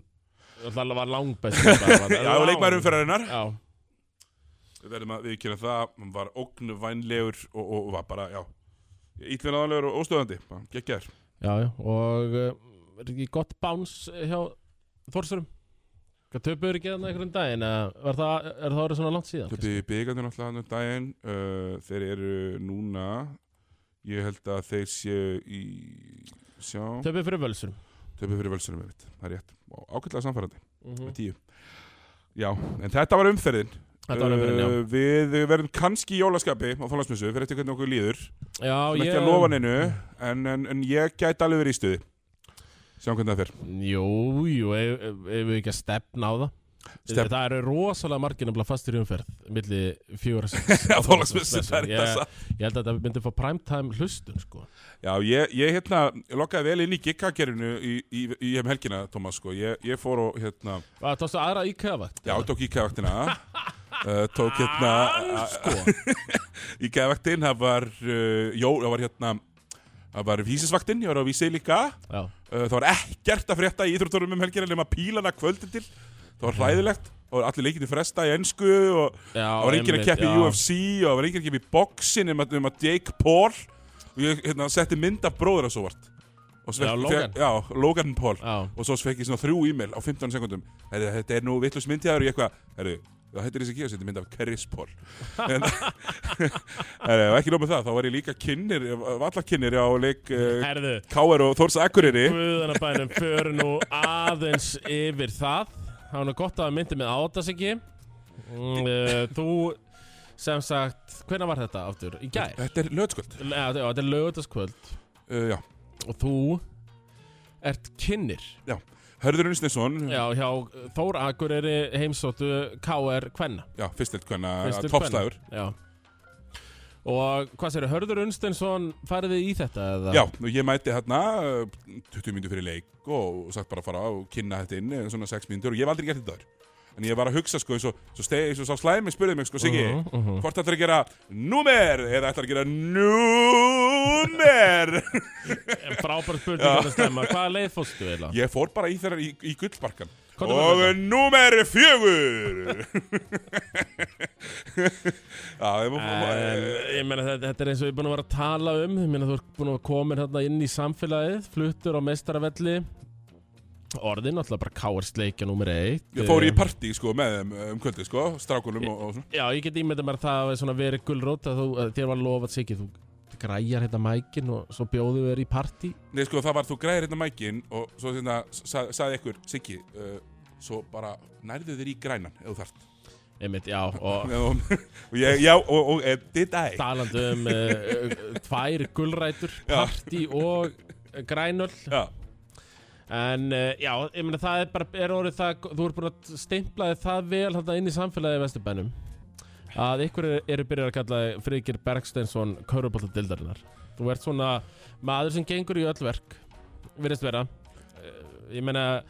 náttúrulega var langbest [laughs] Já, og leikmæður umferðarinnar Já, Við verðum að viðkynna það, hann var ógnvænlegur og, og, og var bara, já Ítlinn aðalegur og óstöðandi Gekkjær já, já, og uh, er ekki gott báns hjá Þórsurum? Hvað töpuður ekki þannig einhverjum daginn eða var það, er það orðið svona langt síðan? Töppi byggandi náttúrulega hann um daginn uh, Þeir eru núna Ég held að þeir séu í Sjá Töpuður fyrir völsurum Töppi fyrir völsunum einmitt Það er rétt Og ákveðlega samfærandi mm Með tíu Já, en þetta var umferðin Þetta var nefnir, já Uh, Við verðum kannski í jólaskapi á Þólasmissu Fyrir eftir hvernig okkur líður Já, Ég... Ekki að lofa neinu en, en, en ég gæti alveg verið í stuði Sjáum hvernig það fer Jú, jú, ef ef- ef við ekki að stefna á það Stefn- Það eru rosalega margir nefnilega fastir í umferð milli fjóra [laughs] Já, Þorláksmessu, það er þetta ég, ég held að það myndi fá primetime hlustun sko. Já, ég, ég hérna lokkaði vel inn í giggakerinu í, í, í heim helgina, Tómas, sko. Ég, ég fór og hérna, Það tókstu aðra íkæðavakt já, tók íkæðvaktina, [laughs] uh, tók hérna, sko. íkæðvaktin, það var, uh, jó, það var hérna, það var vísisvaktin, ég var á vísi líka, Já, uh, það var ekkert að frétta í íþróttunum um helgina nema pílana kvöldin til, það var hræðilegt og allir leikinni fresta í ennsku og já það var enginn að einmitt, keppa í já. UFC og það var enginn að keppa í boxin um að, um að Jake Paul og ég hérna, setti mynd af bróður að svo vart og svo Já, fekk- Logan. já, Logan Paul Já, og svo fekk ég svona þrjú e-mail á 15 sekundum Heri, þetta er nú vittlust myndjaður og ég eitthvað Heri, það hættir þessi ekki að setja mynd af Chris [laughs] Paul en [laughs] Heri, og ekki nóg með það, þá var ég líka kynir vallakinnir á leik uh, herðu K.R. og Þórs Akureyri Guðanabænum fyrir nú aðeins yfir það Það var nú gott að það myndi með átas ekki Mm, eh, Þú sem sagt, hvenær var þetta aftur? Í gær? þetta er löðskvöld Nei, já, Þetta er lögutaskvöld uh, já. og þú ert kynnir Hörður Unnsnesson, já. já, hjá eh, Þór Akureyri heimsóttu KR Kvenna já, fyrstilt hvenna Fyrstilt toppslægur já. og hvað sér, Hörður Unstensson farið þið í þetta eða? Já, og ég mæti hérna uh, 20 mínútur fyrir leik og, og sagt bara að fara og kynna þetta inn eh, svona 6 mínútur og ég hef aldrei gert þetta þar En ég var að hugsa sko eins og, svo stegi, eins og sá slæmi spurði mig sko Siggi Mhm, [laughs] mhm. Hvort ætlar að gera númer eða ætlar að gera [laughs] númer frábær spurning að stemma hvaða leið fórstu eða? Ég fór bara í þeirra í, í gullbarkan Komdu með Og þetta. númer [laughs] fjögur Já, ég má En, ég meina þetta, þetta er eins og ég er búin að vera að tala um ég meina þú ert búin að koma hérna inn í samfélagið fluttur á meistaravelli orðin alltaf bara káar sleikja númer eitt Eh, Ég fór í partí sko með þeim um kvöldi sko Strákunum og, og svona Já, ég get ímyndað mér að það hafi svona verið gullrót að þú, að þér var lofað sig ekki, þú græjar hérna mækin og svo bjóðu þér í partí. Nei sko það var þú græðir hérna mækin og svo þetta sa- sagði ykkur Siggi uh, svo bara nærðu þér í grænan ef þú þart Einmitt, já, [laughs] og og, og ég, já og, og e, did I talandi um uh, tvær gullrætur, Já. partí og grænöl. já, En uh, já, ég meina það er bara, er orðið það, þú ert búin að stimpla þig það vel hérna inn í samfélagið í Vesturbænum. Að ykkur eru er byrjað að kalla þig Frigir Bergsteinsson Köruboltadildarinnar. Þú ert svona maður sem gengur í öll verk, virðist vera. Eh, Ég meina,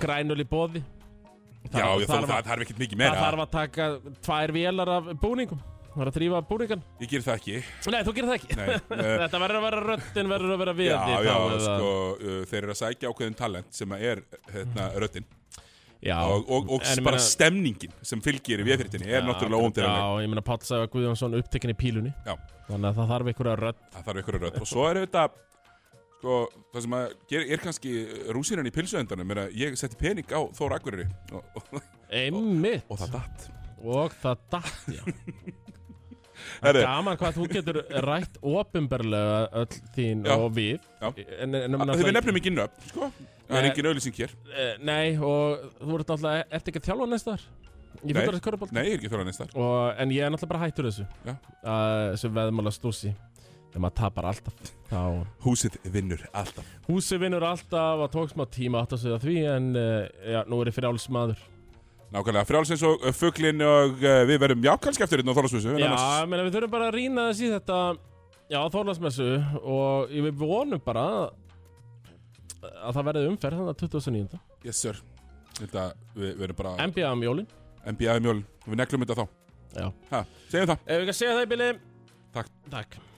grænul í bóði. já Þar- ég, það, þarf að- það þarf ekkert mikið það þarf meira að taka tvær vélar af búningum. Það er að þrýfa búningan. ég ger það ekki Nei, þú gerir það ekki. [laughs] Nei, uh, Þetta verður að vera röddinn, verður að vera við já, já sko uh, þeir eru að sækja ákveðin talent sem að er hérna, röddinn já, og, og, og en ég bara meina- stemningin sem fylgir í viðfyrirtinni er náttúrulega óumdýranleg Já, ég meina Páll sagði að Guðjónsson upptekinn í pílunni Já. Þannig að það þarf einhverja rödd það þarf ykkur rödd og svo er þetta sko það sem að ger, er kannski rúsirinn í pilsuendanum er að ég setti pening á Þóra Akureyri og, og, Einmitt og það datt Og það datt, [laughs] já Herri, Gaman hvað þú getur rætt opinberlega öll þín Já. og við Já. en, en, en, Þegar Ah, við nefnum ekki nöfn, sko Það er Nei. engin auðlýsing hér ekki Nei, og þú ert náttúrulega, ert ekki að þjálfa næst þar? Ég Nei. fyrir þessi körubólt Nei, ég er ekki þóra neins þar og, En ég er náttúrulega bara hættur þessu Já. uh, Sem veðmála stúsi Þegar maður tapar alltaf Þá Húsið vinnur alltaf Húsi vinnur alltaf að tók smá tíma átt að segja því En uh, já, nú er ég fyrir áls maður Nákvæmlega, frjálsins og uh, fugglin og uh, við verum já, kannski eftir hérna á Þorlásvísu Já, ég meina við þurfum bara að rýna þess í þetta Já, Þorlandsmessu Og ég við vonum bara Að það verði umferð Þannig að 2009 Yes, sir Þetta, við verum bara NBA um jólin NBA mjól Við neglum þetta þá Já ha, Segjum það Ef við ekki að segja það í bili Takk. Takk